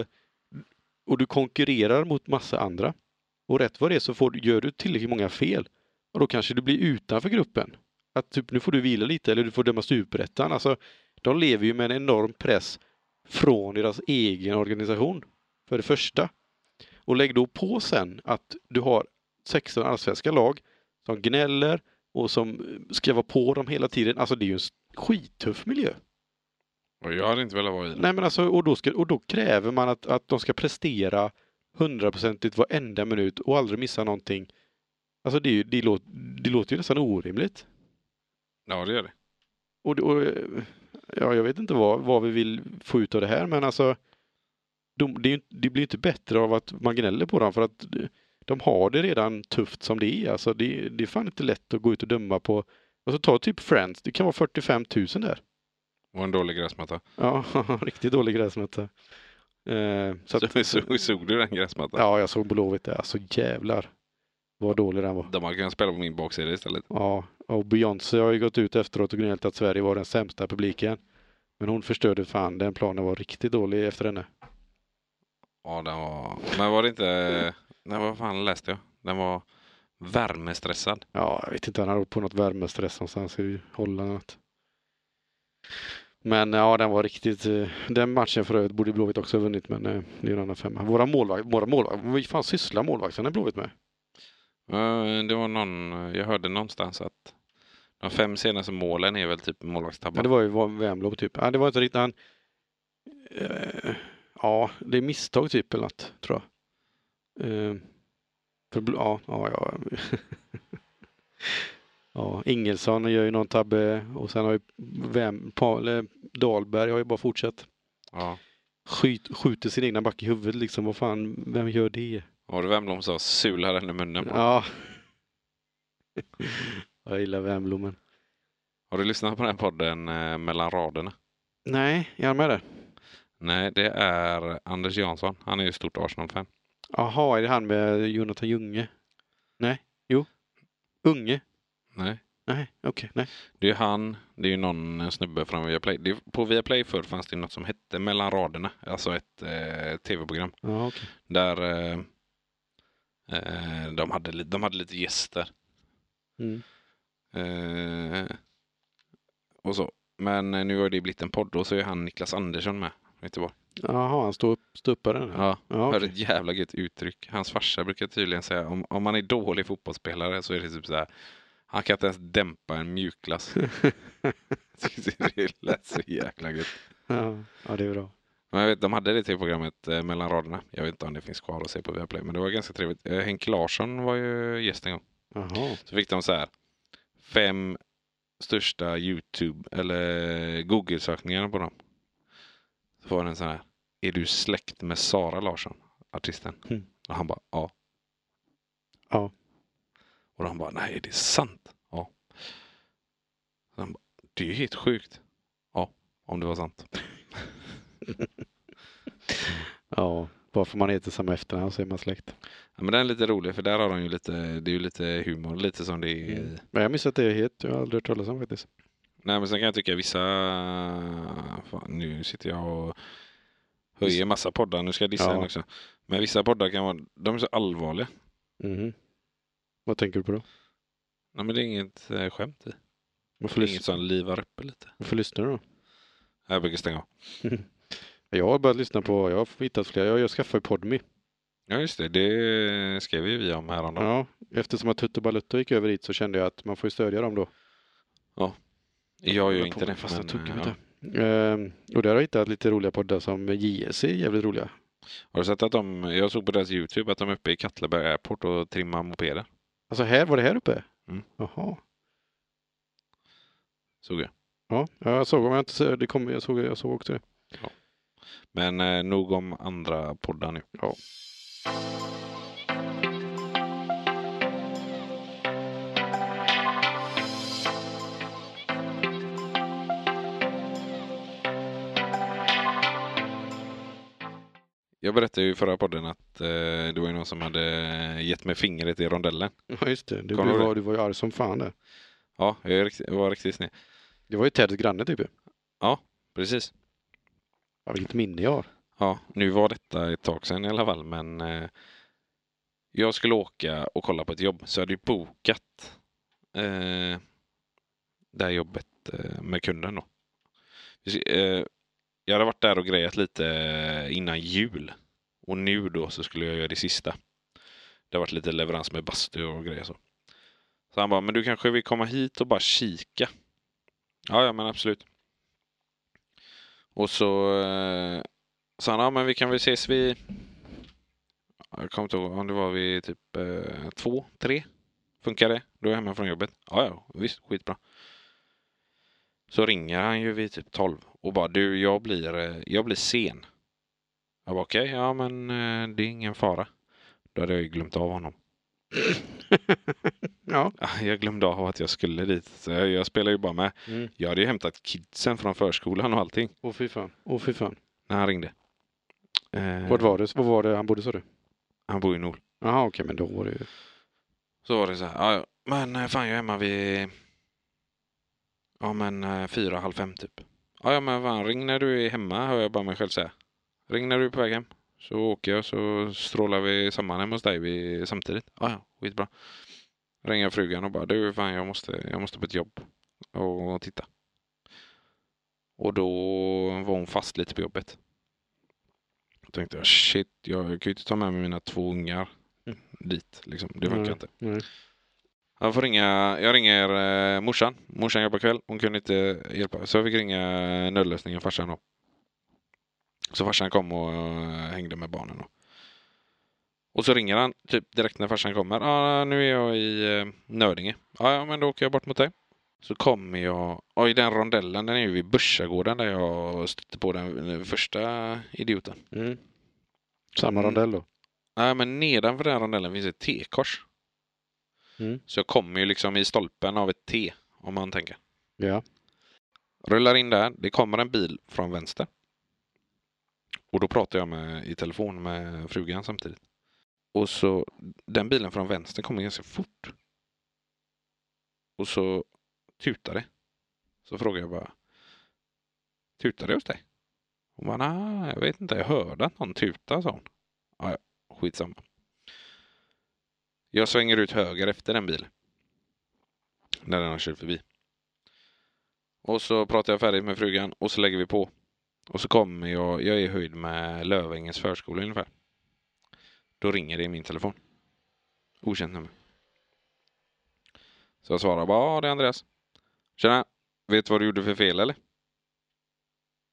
Speaker 1: och du konkurrerar mot massa andra. Och rätt vad det är så får, du- gör du tillräckligt många fel. Och då kanske du blir utanför gruppen. Att typ nu får du vila lite eller du får dömas till superettan. Alltså de lever ju med en enorm press från deras egen organisation för det första. Och lägg då på sen att du har 16 allsvenska lag som gnäller och som ska vara på dem hela tiden. Alltså det är ju en s- skittuff miljö.
Speaker 2: Och jag hade inte velat vara i den.
Speaker 1: Nej men alltså, och då, ska, och då kräver man att, att de ska prestera hundraprocentigt varenda minut och aldrig missa någonting. Alltså det, är ju- det, låter, det låter ju nästan orimligt.
Speaker 2: Ja, det gör det.
Speaker 1: Och, det- och eh, ja, jag vet inte vad, vad vi vill få ut av det här, men alltså de, det, är ju- det blir ju inte bättre av att man gnäller på dem för att de- de har det redan tufft som det är. Alltså det, det är fan inte lätt att gå ut och döma på. Och så ta typ Friends, det kan vara 45 000 där.
Speaker 2: Och en dålig gräsmatta.
Speaker 1: Ja, <laughs> riktigt dålig gräsmatta. Eh, så att,
Speaker 2: Så, så, såg du den gräsmattan?
Speaker 1: ja, jag såg Blåvitt där. Alltså jävlar vad dålig den var.
Speaker 2: De hade kunnat spela på min baksida istället.
Speaker 1: Ja, och Beyoncé har ju gått ut efteråt och gnällt att Sverige var den sämsta publiken. Men hon förstörde fan, den planen var riktigt dålig efter henne.
Speaker 2: Ja, den var... Men var det inte... Nej, vad fan läste jag? Den var värmestressad.
Speaker 1: Ja, jag vet inte, han hade åkt på något värmestress någonstans i Holland. eller något. Men ja, den var riktigt... eh, Den matchen för övrigt borde Blåvitt också ha vunnit, men eh, det är en annan femma. Våra målvakter, våra målvakter, vad fan sysslar målvakterna i Blåvitt med?
Speaker 2: Eh, Det var någon... Jag hörde någonstans att de fem senaste målen är väl typ
Speaker 1: Ja,
Speaker 2: målvaktstabbar.
Speaker 1: det var ju Van- Wemlow typ. Ja, det var inte riktigt han... Eh, ja, det är misstag typ eller något, tror jag. Eh, för, bl- ja, ja, ja. <laughs> ja, Ingelsson gör ju någon tabbe och sen har ju Vem, Pa- eller Dahlberg har ju bara fortsatt.
Speaker 2: Ja.
Speaker 1: Skjut, skjuter sin egna back i huvudet liksom. Vad fan, vem gör det?
Speaker 2: Var det Wemblom sa sula den i munnen på.
Speaker 1: Ja. <laughs> Jag gillar Wemblom, men...
Speaker 2: Har du lyssnat på den här podden eh, mellan raderna?
Speaker 1: Nej, är han med där?
Speaker 2: Nej, det är Anders Jansson. Han är ju stort Arsenal-fan.
Speaker 1: Jaha, är det han med Jonathan Junge? Nej, jo. Unge?
Speaker 2: Nej.
Speaker 1: Nej, okej, nej.
Speaker 2: Det är ju han, det är ju någon eh, snubbe från Viaplay. Det, på Viaplay förr fanns det ju något som hette Mellan raderna. Alltså ett eh, tv-program
Speaker 1: Ja, okej.
Speaker 2: där eh, eh, de, hade, li- de hade lite gäster.
Speaker 1: Mm.
Speaker 2: Eh, och så. Men eh, nu har det blivit en podd och så är han Niklas Andersson med. från Göteborg.
Speaker 1: Jaha, han står upp, står uppe där.
Speaker 2: Ja,
Speaker 1: ja
Speaker 2: Hör
Speaker 1: okej.
Speaker 2: ett jävla gött uttryck. Hans farsa brukar tydligen säga om, om man är dålig fotbollsspelare så är det typ så här. Han kan inte ens dämpa en mjukglass. det lät så jäkla gött.
Speaker 1: Ja, ja det är bra.
Speaker 2: Men jag vet, de hade det till programmet eh, mellan raderna. Jag vet inte om det finns kvar att se på Viaplay, men det var ganska trevligt. Eh, Henke Larsson var ju gäst en gång.
Speaker 1: Jaha.
Speaker 2: Så fick de så här fem största Youtube eller Google-sökningarna på dem. Så var det en sån här. Är du släkt med Sara Larsson? Artisten.
Speaker 1: Mm.
Speaker 2: Och han bara ja.
Speaker 1: Ja.
Speaker 2: Och han bara nej, det är sant. Ja. Så han bara, det är ju helt sjukt. Ja, om det var sant.
Speaker 1: Ja, bara för man heter samma efternamn så är man släkt.
Speaker 2: Ja, men den är lite rolig för där har de ju lite, det är ju lite humor, lite som det är i
Speaker 1: Mm. Men jag minns att det är het. Jag har aldrig hört talas om faktiskt.
Speaker 2: Nej men sen kan jag tycka vissa... Fan, nu sitter jag och höjer massa poddar. Nu ska jag dissa
Speaker 1: Ja.
Speaker 2: en också. Men vissa poddar kan vara... De är så allvarliga. Mm-hmm.
Speaker 1: Mhm. Vad tänker du på då?
Speaker 2: Nej men det är inget eh, skämt i.
Speaker 1: Vad
Speaker 2: Det
Speaker 1: får
Speaker 2: är inget
Speaker 1: lys-
Speaker 2: som livar upp lite.
Speaker 1: vad får lyssna då? <laughs>
Speaker 2: Jag brukar stänga av.
Speaker 1: Jag har börjat lyssna på, jag har hittat flera, jag, jag skaffar ju Podme.
Speaker 2: Ja just det, det skrev ju vi om häromdagen.
Speaker 1: Ja, eftersom att Tutte Balutto gick över dit så kände jag att man får ju stödja dem då.
Speaker 2: Jag gör
Speaker 1: Håller på
Speaker 2: inte
Speaker 1: med
Speaker 2: det.
Speaker 1: fasta
Speaker 2: Men,
Speaker 1: tuggar,
Speaker 2: eh,
Speaker 1: vet
Speaker 2: ja.
Speaker 1: du. Ehm, och där har jag hittat lite roliga poddar som JSC är jävligt roliga.
Speaker 2: Har du sett att de... Jag såg på deras YouTube att de är uppe i Kattleberg Airport och trimmar mopeder.
Speaker 1: Alltså här, var det här uppe?
Speaker 2: Mm.
Speaker 1: Jaha.
Speaker 2: Såg jag.
Speaker 1: Ja, ja, jag såg, om jag inte ser- det kom, jag såg, jag såg också det. <laughs>
Speaker 2: Men eh, nog om andra poddar nu.
Speaker 1: Ja.
Speaker 2: Jag berättade ju i förra podden att eh, det var ju någon som hade eh, gett mig fingret i rondellen.
Speaker 1: Ja, just det. Du, du,
Speaker 2: Kollar du
Speaker 1: var, du var ju arg som fan där.
Speaker 2: Ja, jag är rikt- var riktigt sned.
Speaker 1: Det var ju Teds granne typ. ju.
Speaker 2: Precis.
Speaker 1: Ja, vilket minne jag har. <laughs>
Speaker 2: Ja, nu var detta ett tag sedan i alla fall, men eh, jag skulle åka och kolla på ett jobb, så jag hade ju bokat eh, det här jobbet eh, med kunden då. Vi sk- Eh, jag hade varit där och grejat lite eh, innan jul och nu då så skulle jag göra det sista. Det har varit lite leverans med bastu och grejer så. Så han bara, men du kanske vill komma hit och bara kika? Ja, ja, men absolut. Och så eh, sa han, ja men vi kan väl ses vid... Jag kommer inte ihåg om det var vid typ eh, två, tre. Funkar det? Då är jag hemma från jobbet. Ja, ja, visst, skitbra. Så ringer han ju vid typ tolv och bara du, jag blir, eh, jag blir sen. Jag bara okej, ja men eh, det är ingen fara. Då hade jag ju glömt av honom. <laughs>
Speaker 1: Ja.
Speaker 2: Jag glömde av att jag skulle dit. Så jag, jag spelar ju bara med.
Speaker 1: Mm.
Speaker 2: Jag hade ju hämtat kidsen från förskolan och allting
Speaker 1: Åh fy fan. Åh fy fan.
Speaker 2: när han ringde. Eh,
Speaker 1: Vart var det? Var var det han bodde sa du?
Speaker 2: Han bor i Nol.
Speaker 1: Jaha, okej, men då var det ju...
Speaker 2: Så var det så här. "Ja, Ja, men eh, fan jag är hemma vid... Ja men eh, fyra, halv fem typ. Ja, ja men fan ring när du är hemma hör jag bara mig själv säga. Ring när du är på väg hem. Så åker jag så strålar vi samman hem hos dig vid, samtidigt. Ja, ja skitbra. Ringer frugan och bara du fan jag måste, jag måste på ett jobb och titta. Och då var hon fast lite på jobbet. Då tänkte jag shit jag kan ju inte ta med mig mina två ungar
Speaker 1: Mm.
Speaker 2: dit liksom. Det funkar
Speaker 1: Nej.
Speaker 2: inte.
Speaker 1: Nej.
Speaker 2: Jag får ringa, jag ringer eh, morsan. Morsan jobbar kväll. Hon kunde inte hjälpa. Så jag fick ringa eh, nödlösningen farsan då. Så farsan kom och eh, hängde med barnen då. Och så ringer han typ direkt när farsan kommer. Ja, ah, nu är jag i eh, Nödinge. "Ah, Ja, ja, men då åker jag bort mot dig. Så kommer jag, ja i den rondellen, den är ju vid Börsagården där jag stötte på den, den första idioten.
Speaker 1: Mm. Samma
Speaker 2: Mm.
Speaker 1: rondell då?
Speaker 2: Nej, men nedanför den rondellen finns ett T-kors.
Speaker 1: Mm.
Speaker 2: Så jag kommer ju liksom i stolpen av ett T, om man tänker.
Speaker 1: Ja.
Speaker 2: Rullar in där. Det kommer en bil från vänster. Och då pratar jag med, i telefon med frugan samtidigt. Och så den bilen från vänster kommer ganska fort. Och så tutar det. Så frågar jag bara. Tutar det hos dig? Hon bara, nej, jag vet inte. Jag hörde att någon tutade, sa hon. Ja, ja, skitsamma. Jag svänger ut höger efter den bilen. När den har kört förbi. Och så pratar jag färdigt med frugan och så lägger vi på. Och så kommer jag, jag är i höjd med Lövängens förskola ungefär. Då ringer det i min telefon. Okänt nummer. Så jag svarar bara, ja det är Andreas. Tjena, vet du vad du gjorde för fel eller?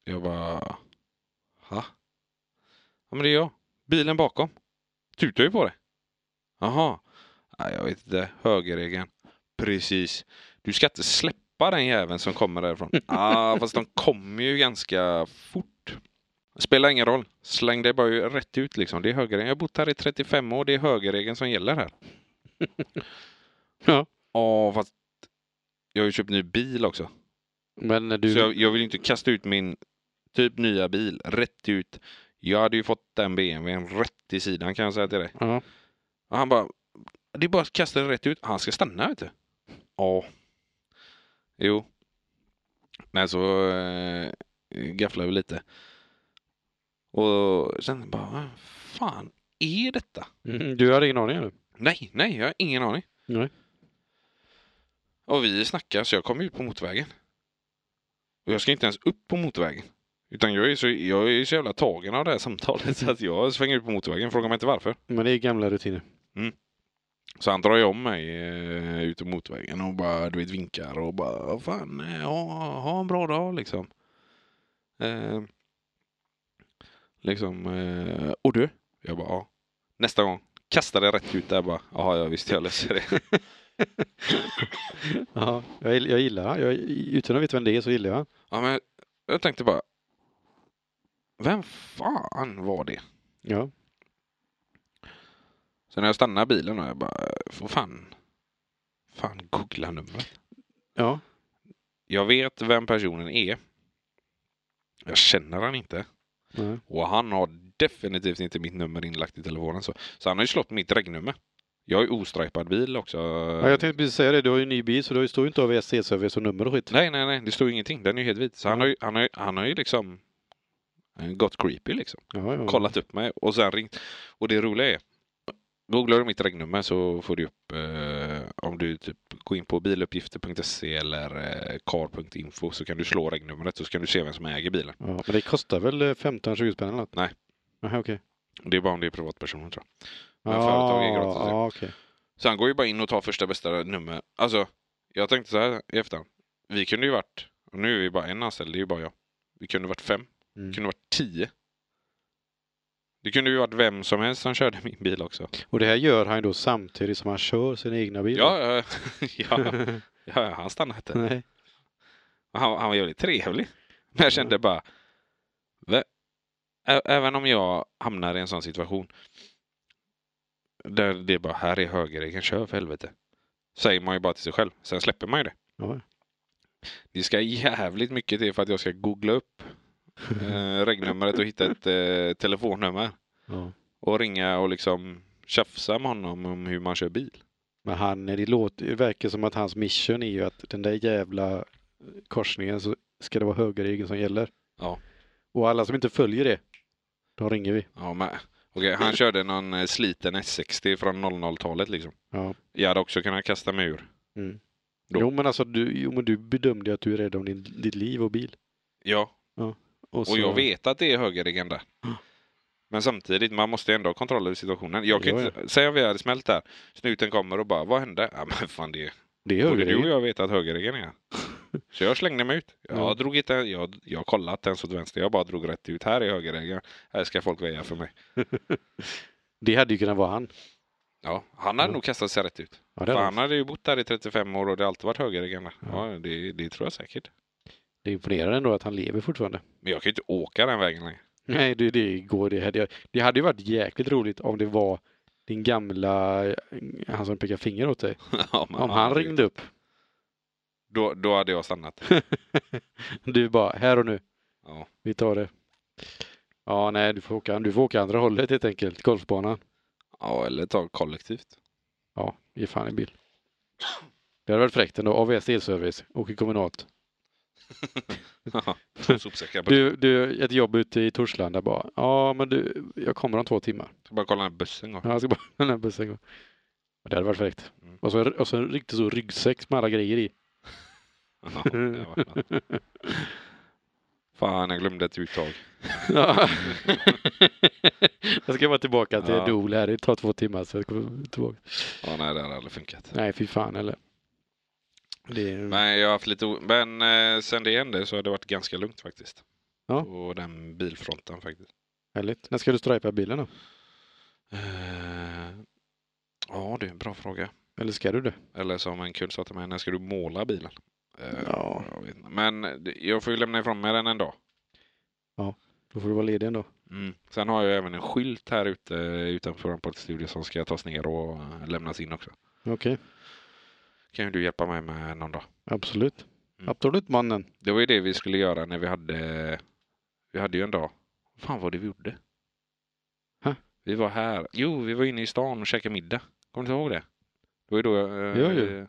Speaker 2: Jag bara... Ha? Ja, men det är jag. Bilen bakom. Tutar ju på det. Jaha. Nej, jag vet inte. Högerregeln. Precis. Du ska inte släppa den jäveln som
Speaker 1: <laughs>
Speaker 2: kommer därifrån. ah, fast de kommer ju ganska fort. Spelar ingen roll. Släng dig bara ju rätt ut liksom. Det är högerregeln. Jag har bott här i 35 år. Det är högerregeln som gäller här.
Speaker 1: <laughs> Ja.
Speaker 2: Ja, fast jag har ju köpt ny bil också.
Speaker 1: Men när du...
Speaker 2: Så jag, jag vill ju inte kasta ut min typ nya bil rätt ut. Jag hade ju fått den BMWn rätt i sidan kan jag säga till dig.
Speaker 1: Ja.
Speaker 2: Och han bara, det är bara att kasta den rätt ut. Han ska stanna vet du. Ja. Jo. Nej så äh, gafflade vi lite. Och sen bara, vad fan är detta?
Speaker 1: Mm, Du hade ingen aning eller?
Speaker 2: Nej, nej, jag har ingen aning.
Speaker 1: Nej.
Speaker 2: Och vi snackar så jag kom ut på motorvägen. Och jag ska inte ens upp på motorvägen. Utan jag är så, jag är så jävla tagen av det här samtalet <laughs> så att jag svänger ut på motorvägen. Frågar mig inte varför.
Speaker 1: Men det är gamla rutiner.
Speaker 2: Så han drar ju om mig eh, ut på motorvägen och bara du vet vinkar och bara "Vad fan, eh, ha, ha en bra dag liksom. Eh, liksom, eh, och du? Jag bara ja. Nästa gång, kastar det rätt ut där bara. Jaha, ja visst jag löser det.
Speaker 1: Ja, jag, gill- jag gillar han. Jag, utan att veta vem det är så gillar jag han.
Speaker 2: Ja, men jag tänkte bara. Vem fan var det?
Speaker 1: Ja.
Speaker 2: Så när jag stannade bilen och jag bara, för fan. Fan, googla numret.
Speaker 1: Ja.
Speaker 2: Jag vet vem personen är. Jag känner han inte.
Speaker 1: Nej.
Speaker 2: Och han har definitivt inte mitt nummer inlagt i telefonen. Så, så han har ju slått mitt regnummer. Jag har ju ostrajpad bil också.
Speaker 1: Ja, jag tänkte precis säga det, du har ju en ny bil så det står ju inte AVS-service och nummer och skit.
Speaker 2: Nej, nej, nej. Det står ju ingenting. Den är ju helt vit. Så han har ju, han har ju, han har ju liksom eh, gått creepy liksom.
Speaker 1: Ja, ja.
Speaker 2: kollat upp mig och sen ringt. Och det roliga är, googlar du mitt regnummer så får du upp eh, om du typ går in på biluppgifter.se eller eh, car.info så kan du slå regnumret så kan du se vem som äger bilen.
Speaker 1: Ja, men det kostar väl eh, 15-20 spänn eller något?
Speaker 2: Nej.
Speaker 1: Aha, okej.
Speaker 2: Och det är bara om det är privatpersoner tror jag. Men
Speaker 1: Ja,
Speaker 2: företag är gratis.
Speaker 1: Ja, okej.
Speaker 2: Så han går ju bara in och tar första bästa nummer. Alltså, jag tänkte så här i efterhand. Vi kunde ju varit, och nu är vi bara en anställd, det är ju bara jag. Vi kunde varit fem, vi
Speaker 1: Mm.
Speaker 2: kunde varit tio. Det kunde ju varit vem som helst som körde min bil också.
Speaker 1: Och det här gör han ju då samtidigt som han kör sin egna bil.
Speaker 2: Ja, ja, ja. <laughs> Ja, han stannade inte.
Speaker 1: Nej.
Speaker 2: Han, han var jävligt trevlig. Men jag kände bara... "Vä- ä- Även om jag hamnar i en sån situation där det är bara här är högerregeln, kör för helvete. Säger man ju bara till sig själv. Sen släpper man ju det.
Speaker 1: Ja.
Speaker 2: Det ska jävligt mycket till för att jag ska googla upp eh, regnumret och hitta ett eh, telefonnummer.
Speaker 1: Ja.
Speaker 2: Och ringa och liksom tjafsa med honom om hur man kör bil.
Speaker 1: Men han, det låter, det verkar som att hans mission är ju att den där jävla eh, korsningen så ska det vara högerregeln som gäller.
Speaker 2: Ja.
Speaker 1: Och alla som inte följer det, då ringer vi.
Speaker 2: Ja, men, okej, han körde någon eh, sliten S60 från 00-talet liksom.
Speaker 1: Ja.
Speaker 2: Jag hade också kunnat kasta mig ur. Mm. Då.
Speaker 1: Jo men alltså du, jo, men du bedömde ju att du är rädd om din, ditt liv och bil.
Speaker 2: Ja,
Speaker 1: Och,
Speaker 2: och jag vet att det är
Speaker 1: <gasps>
Speaker 2: högerregeln där. Men samtidigt, man måste ju ändå ha kontroll över situationen. Jag kan
Speaker 1: Ja,
Speaker 2: ju inte, säg om vi hade smält där. Snuten kommer och bara, vad hände? Ja men fan det,
Speaker 1: Det är
Speaker 2: både du och
Speaker 1: högerregeln.
Speaker 2: jag vet att högerregeln är här. Så jag slängde mig ut. Jag
Speaker 1: Ja.
Speaker 2: drog inte, jag, jag kollade inte ens åt vänster. Jag bara drog rätt ut. Här är högerregeln. Här ska folk väja för mig.
Speaker 1: Det hade ju kunnat vara han.
Speaker 2: Ja, han hade
Speaker 1: Ja.
Speaker 2: nog kastat sig rätt ut.
Speaker 1: Ja, det,
Speaker 2: För
Speaker 1: hade
Speaker 2: han
Speaker 1: han.
Speaker 2: hade ju bott där i 35 år och det har alltid varit högerregeln där. Ja, det, det tror jag säkert.
Speaker 1: det imponerar ändå att han lever fortfarande.
Speaker 2: Men jag kan ju inte åka den vägen längre. <laughs>
Speaker 1: Nej, det, det går det. Hade jag, det hade ju varit jäkligt roligt om det var din gamla, eh, han som pekar finger åt dig.
Speaker 2: Ja, men
Speaker 1: Om han
Speaker 2: hade-
Speaker 1: ringde upp.
Speaker 2: Då, då hade jag stannat.
Speaker 1: Du bara, här och nu.
Speaker 2: Ja.
Speaker 1: Vi tar det. Ja, nej, du får åka, du får åka andra hållet helt enkelt. Golfbanan.
Speaker 2: Ja, eller ta kollektivt.
Speaker 1: Ja, ge fan i bil. Det hade varit fräckt ändå. AVS Elservice. Åker kommunalt.
Speaker 2: Två sopsäckar. Bara,
Speaker 1: Du, du, ett jobb ute i Torslanda bara. Ja, men du, jag kommer om två timmar.
Speaker 2: ska bara kolla när
Speaker 1: <laughs>
Speaker 2: bussen går.
Speaker 1: Ja, Jag ska bara den här bussen går. Det hade varit fräckt.
Speaker 2: Mm.
Speaker 1: Och, så, och så en riktigt stor ryggsäck med alla grejer
Speaker 2: <laughs>
Speaker 1: i.
Speaker 2: Ja, det var skönt. Fan, jag glömde ett uttag.
Speaker 1: Ja. jag ska vara tillbaka till
Speaker 2: Ja.
Speaker 1: Dool här. Det tar två timmar så jag kommer tillbaka.
Speaker 2: Ja, nej, det hade aldrig funkat.
Speaker 1: Nej, fy fan eller. Det är...
Speaker 2: Men jag har haft lite o- Men eh, sen det hände så har det varit ganska lugnt faktiskt.
Speaker 1: Ja.
Speaker 2: på den bilfronten faktiskt.
Speaker 1: Härligt. När ska du stripa bilen då?
Speaker 2: Eh, ja, det är en bra fråga.
Speaker 1: Eller ska du det?
Speaker 2: Eller som en kul sa till mig, när ska du måla bilen? Eh,
Speaker 1: Ja.
Speaker 2: jag vet inte. Men det- jag får ju lämna ifrån mig den en dag.
Speaker 1: Då får du vara ledig ändå.
Speaker 2: Mm. Sen har jag även en skylt här ute eh, utanför vår poddstudio som ska tas ner och eh, lämnas in också.
Speaker 1: Mm, Okej,
Speaker 2: Kan ju du hjälpa mig med någon dag?
Speaker 1: absolut.
Speaker 2: Mm.
Speaker 1: Absolut mannen.
Speaker 2: Det var ju det vi skulle göra när vi hade... Vi hade ju en dag. Fan vad det vi gjorde.
Speaker 1: Hä?
Speaker 2: Vi var här. Jo, vi var inne i stan och käkade middag. Kommer du inte ihåg det? Det var ju då... Eh,
Speaker 1: Jo, jo.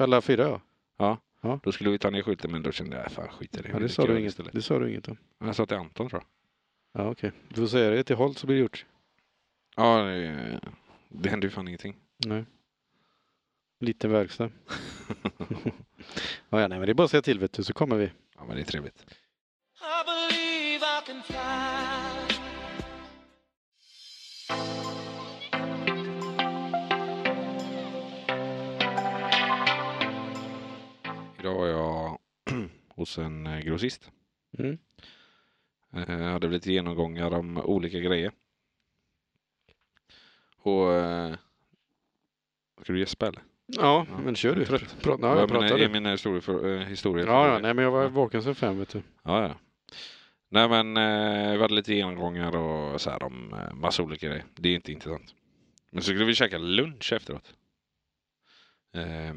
Speaker 1: Alla fyra ja.
Speaker 2: Då skulle vi ta ner skylten men då kände jag, "Äh, fan skit i det.
Speaker 1: ja det,
Speaker 2: Vi dricker
Speaker 1: sa du
Speaker 2: öl
Speaker 1: inget,
Speaker 2: istället.
Speaker 1: det sa du inget om.
Speaker 2: Jag sa till Anton tror jag.
Speaker 1: Ja okej. Du får säga det till Holt så blir det gjort.
Speaker 2: Ja, det, det hände ju fan ingenting.
Speaker 1: Nej. Liten <laughs> verkstad. ja, ja, nej men det är bara att säga till vet du så kommer vi.
Speaker 2: Ja, men det är trevligt.
Speaker 3: I believe I can fly.
Speaker 2: Idag var jag <clears throat> hos en eh, grossist.
Speaker 1: Mm.
Speaker 2: Eh, hade lite genomgångar om olika grejer. Och... Eh, ska du gäspa eller?
Speaker 1: Ja,
Speaker 2: Ja.
Speaker 1: men kör du.
Speaker 2: Trött.
Speaker 1: Pr- Prata, ja, jag
Speaker 2: mina,
Speaker 1: pratar
Speaker 2: är
Speaker 1: du.
Speaker 2: mina historier för, eh, historier
Speaker 1: Ja, ja,
Speaker 2: för-
Speaker 1: nej men jag var vaken sen fem vet du.
Speaker 2: ja, ja. Nej men eh, vi hade lite genomgångar och så här om eh, massa olika grejer. Det är inte intressant. Men så skulle vi käka lunch efteråt. Eh,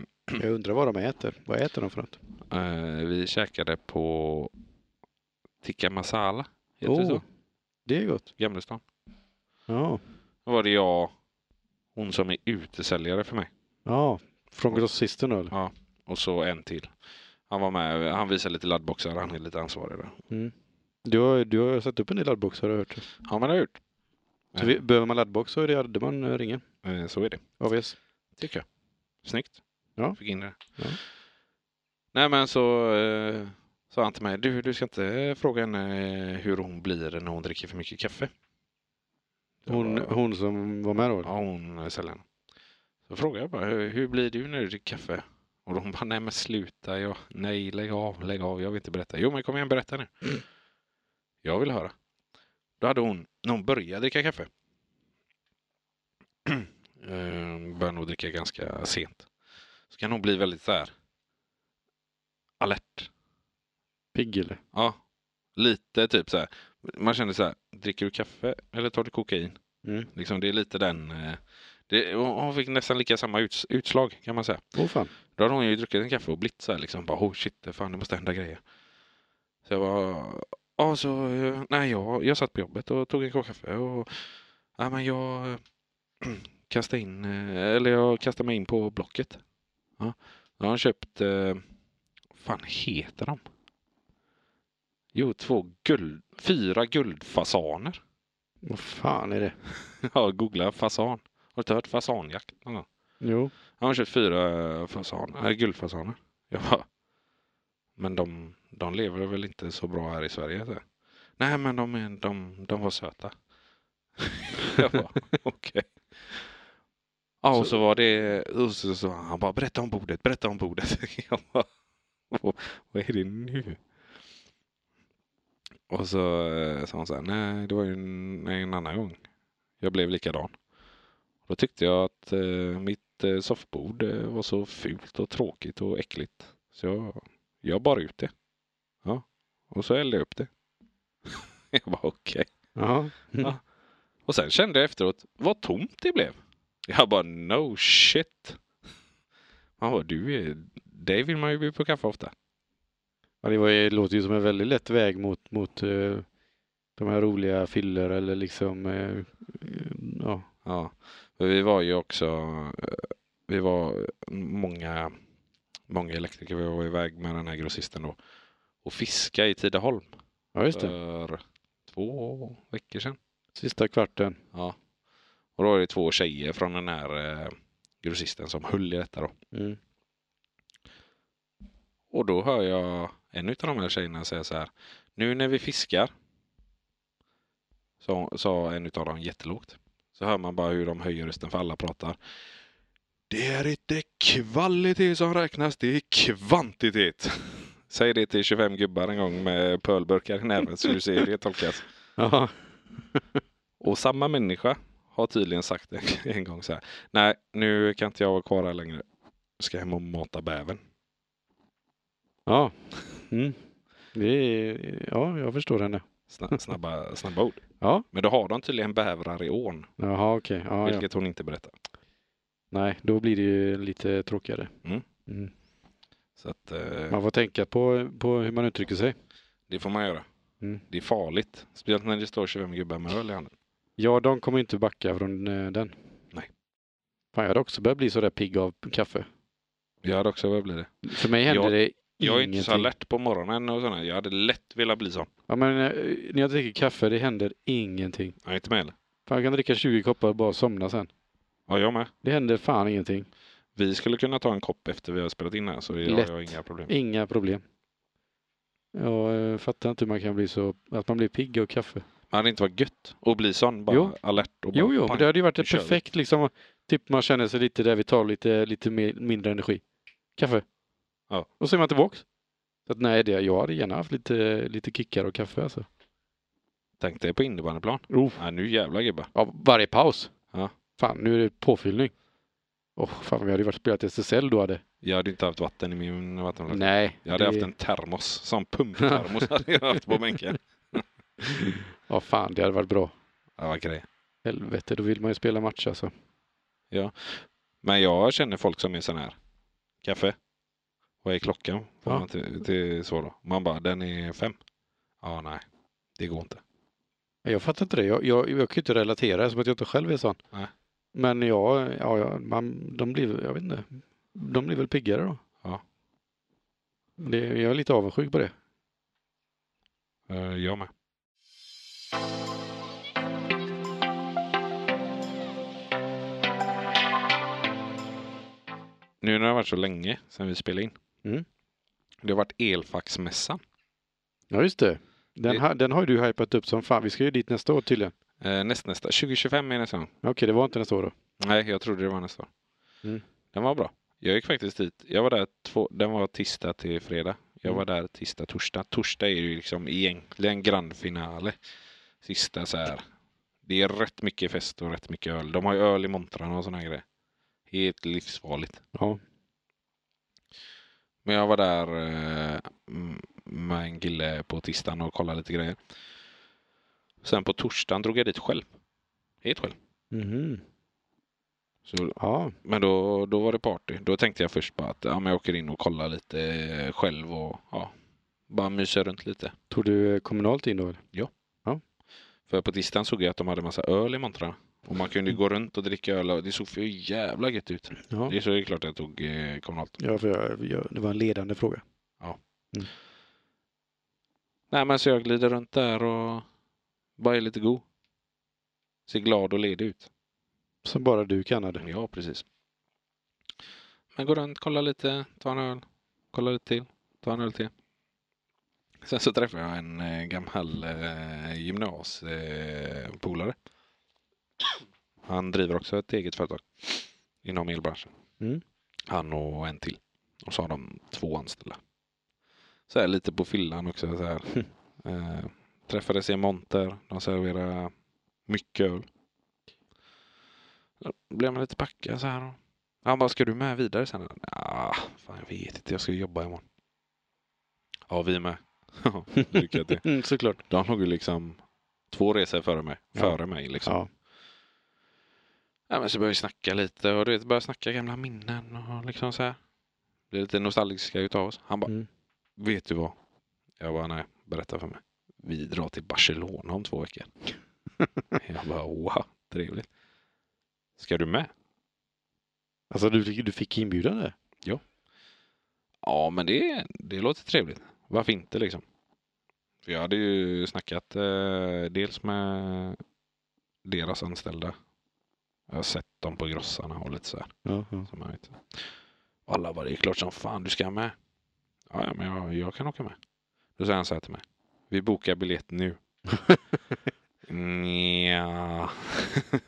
Speaker 1: Jag undrar vad de äter. Vad äter de för något?
Speaker 2: Eh, vi käkade på Tikka Masala. Heter det så?
Speaker 1: Oh, det är gott.
Speaker 2: Gamlestan.
Speaker 1: Ja,
Speaker 2: Då var det jag, hon som är utesäljare för mig.
Speaker 1: ja. från grossisten då eller?
Speaker 2: Och så en till. Han var med. Han visade lite laddboxar. Han är lite ansvarig där.
Speaker 1: Du har, du har satt upp en del laddbox har jag hört.
Speaker 2: Ja men det har jag gjort.
Speaker 1: Så vi, behöver man laddbox så är det Ardeman eh, ringer.
Speaker 2: Eh, Så är det.
Speaker 1: AVS.
Speaker 2: Tycker jag. Snyggt.
Speaker 1: Ja.
Speaker 2: Fick in det.
Speaker 1: Ja.
Speaker 2: Nej men så eh, sa han till mig. Du, du ska inte fråga henne eh, hur hon blir när hon dricker för mycket kaffe. Jag
Speaker 1: Hon,
Speaker 2: bara,
Speaker 1: hon som var med då? eller?
Speaker 2: Ja, hon är sällan. Så frågade jag bara, hur, hur blir du när du dricker kaffe? Och då hon bara, nej men sluta, jag, nej lägg av, lägg av, jag vill inte berätta. Jo men kom igen, berätta nu. Jag vill höra. Då hade hon, när hon började dricka kaffe. <clears throat> eh, började nog dricka ganska sent. Så kan hon bli väldigt så här alert.
Speaker 1: Pigg eller?
Speaker 2: Ja, lite typ så här. Man känner så här, dricker du kaffe eller tar du kokain?
Speaker 1: Mm.
Speaker 2: Liksom det är lite den... eh, Det, hon hon fick nästan lika samma uts, utslag kan man säga.
Speaker 1: Åh fan.
Speaker 2: Då hade hon ju druckit en kaffe och blivit så här liksom. Bara, oh shit, fan det måste hända grejer. Så jag bara... Ja, så... eh, Nej, jag, jag satt på jobbet och tog en kopp kaffe och... Nej, men jag... <clears throat> eh, Kastade in... eh, Eller jag kastade mig in på Blocket. Ja. Då har hon köpt... eh, Vad fan heter de? Jo, två guld... Fyra guldfasaner.
Speaker 1: Vad fan är det?
Speaker 2: Ja, googla fasan. Har du inte hört fasanjakt någon gång?
Speaker 1: Jo.
Speaker 2: Han har köpt fyra fasaner, äh, guldfasaner. Jag bara, men de, de lever väl inte så bra här i Sverige? Så. Nej, men de, är, de, de var söta. jag bara, okej. Ja, och så, var det, och så, så han bara, berätta om bordet, berätta om bordet. <laughs> jag bara, vad, vad är det nu? Och så eh, sa hon så här, nej det var ju en, en annan gång. Jag blev likadan. Då tyckte jag att eh, mitt eh, soffbord eh, var så fult och tråkigt och äckligt. Så jag, jag bar ut det. Ja. Och så hällde jag upp det. <laughs> jag bara okej.
Speaker 1: Jaha. Mm.
Speaker 2: Ja. Och sen kände jag efteråt, vad tomt det blev. Jag bara no shit. Man bara, du är, dig vill man ju bjuda på kaffe ofta.
Speaker 1: Ja, det, var, ju- det låter ju som en väldigt lätt väg mot, mot eh, de här roliga fyller eller liksom, eh, eh, ja.
Speaker 2: Ja, men vi var ju också, eh, vi var många, många elektriker, vi var iväg med den här grossisten då och fiska i Tidaholm
Speaker 1: ja, just det.
Speaker 2: för två veckor sedan.
Speaker 1: Sista kvarten.
Speaker 2: Ja. Och då var det två tjejer från den här eh, grossisten som höll i detta då.
Speaker 1: Mm.
Speaker 2: Och då hör jag en av de här tjejerna säga så här. Nu när vi fiskar. så- Sa en av dem jättelågt. Så hör man bara hur de höjer rösten för alla pratar. Det är inte kvalitet som räknas, det är kvantitet. <laughs> Säg det till 25 gubbar en gång med pölburkar i näven så du ser hur det tolkas.
Speaker 1: Ja.
Speaker 2: Och samma människa har tydligen sagt en- <laughs> en gång så här. Nej, nu kan inte jag vara kvar här längre. Jag ska hem och mata bävern.
Speaker 1: Ja. Mm. Det är, ja, jag förstår henne.
Speaker 2: Sna- Snabba, snabba ord.
Speaker 1: <laughs> Ja.
Speaker 2: Men då har de tydligen bävrar i ån,
Speaker 1: Jaha, okej. Ja, ja.
Speaker 2: vilket hon inte berättar.
Speaker 1: Nej, då blir det ju lite tråkigare.
Speaker 2: Mm. Så att, eh,
Speaker 1: Man får tänka på, på hur man uttrycker sig.
Speaker 2: det får man göra.
Speaker 1: Mm.
Speaker 2: Det är farligt. Speciellt när det står 25 gubbar med öl i handen.
Speaker 1: Ja, de kommer inte backa från eh, den.
Speaker 2: Nej.
Speaker 1: Fan, jag hade också börjat bli sådär pigg av kaffe.
Speaker 2: Jag hade också velat bli det.
Speaker 1: För mig hände
Speaker 2: Jag-
Speaker 1: det
Speaker 2: Jag är
Speaker 1: ingenting.
Speaker 2: inte så alert på morgonen och sådär. Jag hade lätt velat bli sån.
Speaker 1: Ja, men eh, när jag dricker kaffe, det händer ingenting.
Speaker 2: Jag är inte med heller.
Speaker 1: Fan, jag kan dricka 20 koppar och bara somna sen.
Speaker 2: Ja, jag med.
Speaker 1: Det händer fan ingenting.
Speaker 2: Vi skulle kunna ta en kopp efter vi har spelat in här så jag
Speaker 1: Lätt.
Speaker 2: har inga problem.
Speaker 1: Inga problem. Jag eh, fattar inte hur man kan bli så, att man blir pigg av kaffe.
Speaker 2: Men hade det inte varit gött att bli sån? Bara
Speaker 1: Jo.
Speaker 2: alert och bara
Speaker 1: Jo, jo, men
Speaker 2: pang.
Speaker 1: det hade ju varit
Speaker 2: nu
Speaker 1: ett
Speaker 2: kör vi.
Speaker 1: perfekt liksom. Typ man känner sig lite där vi tar lite, lite mer, mindre energi. Kaffe.
Speaker 2: Ja.
Speaker 1: Och så är man tillbaks. Så att nej, det, jag hade gärna haft lite, lite kickar och kaffe alltså.
Speaker 2: Tänk dig på innebandyplan.
Speaker 1: Oh.
Speaker 2: Nej, nu jävlar gubbar.
Speaker 1: Ja, varje paus.
Speaker 2: Ja.
Speaker 1: Fan, nu är det påfyllning. Åh, fan, vi hade ju varit spelat SSL då hade.
Speaker 2: Jag hade inte haft vatten i min vattenflaska.
Speaker 1: Nej.
Speaker 2: Jag hade
Speaker 1: det-
Speaker 2: haft en termos. Som pumptermos hade jag haft på
Speaker 1: <laughs>
Speaker 2: bänken.
Speaker 1: Ja, fan, det hade varit bra.
Speaker 2: Det var grej.
Speaker 1: Helvete, då vill man ju spela match alltså.
Speaker 2: Men jag känner folk som är sån här. Kaffe. Vad är klockan? Får
Speaker 1: Ja.
Speaker 2: man till, till så då. Man bara, den är fem. Ja, nej. Det går inte.
Speaker 1: Nej, Jag fattar inte det. Jag, jag, jag kan ju inte relatera som att jag inte själv är sån.
Speaker 2: Nej.
Speaker 1: Men jag, ja, ja, man, de blir, jag vet inte, de blir väl piggare då.
Speaker 2: Ja.
Speaker 1: Det, jag är lite avundsjuk på det.
Speaker 2: Eh, Jag med. Nu när det har varit så länge sedan vi spelade in.
Speaker 1: Mm.
Speaker 2: Det har varit elfaxmässan.
Speaker 1: Ja, just det. Den,
Speaker 2: Det-
Speaker 1: ha- den har ju du hypat upp som fan. Vi ska ju dit nästa år tydligen.
Speaker 2: Eh, nästnästa. 2025 är nästa gång.
Speaker 1: Okej, det var inte nästa år då.
Speaker 2: Nej, jag trodde det var nästa år.
Speaker 1: Mm.
Speaker 2: Den var bra. Jag gick faktiskt dit. Jag var där två, den var tisdag till fredag. Jag
Speaker 1: Mm.
Speaker 2: var där tisdag, torsdag. Torsdag är ju liksom egentligen grandfinale. Sista så här. Det är rätt mycket fest och rätt mycket öl. De har ju öl i montrarna och såna här grejer. Helt livsfarligt.
Speaker 1: Ja.
Speaker 2: Men jag var där eh, m- med en kille på tisdagen och kollade lite grejer. Sen på torsdagen drog jag dit själv. Helt själv.
Speaker 1: Mhm.
Speaker 2: Så
Speaker 1: Ja,
Speaker 2: Men då, då var det party. Då tänkte jag först bara att ja, men jag åker in och kollar lite eh, själv och ja, bara myser runt lite.
Speaker 1: tog du eh, kommunalt in då? eller?
Speaker 2: För på tisdagen såg jag att de hade massa öl i montrarna. Och man kunde gå runt och dricka öl och det såg för jävla gött ut.
Speaker 1: Ja,
Speaker 2: Det är så det är klart jag tog eh, kommunalt.
Speaker 1: ja för jag, jag, det var en ledande fråga.
Speaker 2: Nej men så jag glider runt där och bara är lite god. Ser glad och ledig ut.
Speaker 1: Som bara du kan hade.
Speaker 2: Ja precis. Men går runt, kollar lite, tar en öl, kollar lite till, tar en öl till. Sen så träffar jag en eh, gammal eh, gymnasiepolare. Eh, polare. Han driver också ett eget företag inom elbranschen.
Speaker 1: Mm.
Speaker 2: Han och en till. Och så har de två anställda. Så här lite på fyllan också. Så här. eh, träffades i en monter. De serverar mycket öl. Då blev man lite packad så här. och- Han bara, ska du med vidare sen? Ah, fan jag vet inte, jag ska jobba imorgon. Ja, vi med. <laughs> Lycka till.
Speaker 1: Mm, såklart.
Speaker 2: De låg ju liksom två resor före mig.
Speaker 1: Ja.
Speaker 2: Före mig liksom.
Speaker 1: Ja.
Speaker 2: Ja, men så började vi snacka lite och du vet, började snacka gamla minnen och liksom så här. Blev lite nostalgiska utav oss. Han bara,
Speaker 1: Mm.
Speaker 2: vet du vad? Jag bara, nej, berätta för mig. Vi drar till Barcelona om två
Speaker 1: <laughs>
Speaker 2: veckor. jag bara, wow, trevligt. Ska du med?
Speaker 1: Alltså du, fick- du fick inbjudan där?
Speaker 2: Ja, men det, det låter trevligt. Varför inte liksom? För jag hade ju snackat eh, dels med deras anställda. Jag har sett dem på grossarna och lite så här.
Speaker 1: Ja, ja.
Speaker 2: Som jag vet. Och alla bara, det är klart som fan du ska med. Ja, ja, men jag, jag kan åka med. Då säger han så här till mig. Vi bokar biljett nu. Nja.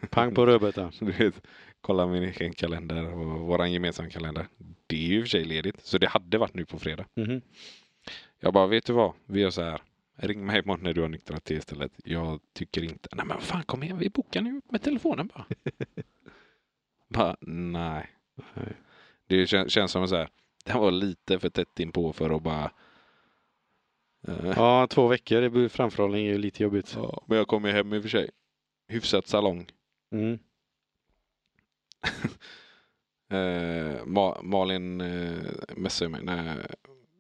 Speaker 1: Pang på rödbetan.
Speaker 2: Du vet, kolla min egen kalender och våran gemensamma kalender. Det är ju i och för sig ledigt, så det hade varit nu på fredag.
Speaker 1: Mhm.
Speaker 2: Jag bara, vet du vad? Vi gör så här. Ring mig imorgon när du har nyktrat till istället. Jag tycker inte... Nej men fan kom igen, vi bokar nu med telefonen bara. bara, nej.
Speaker 1: Nej.
Speaker 2: Det kän, känns som så här. Det var lite för tätt inpå för att bara... eh,
Speaker 1: Ja, två veckor i bu- framförhållning är ju lite jobbigt.
Speaker 2: ja, <laughs> Men jag kom ju hem i och för sig. Hyfsat salong.
Speaker 1: Mm.
Speaker 2: Eh, Ma- Malin eh, messade mig. Nej,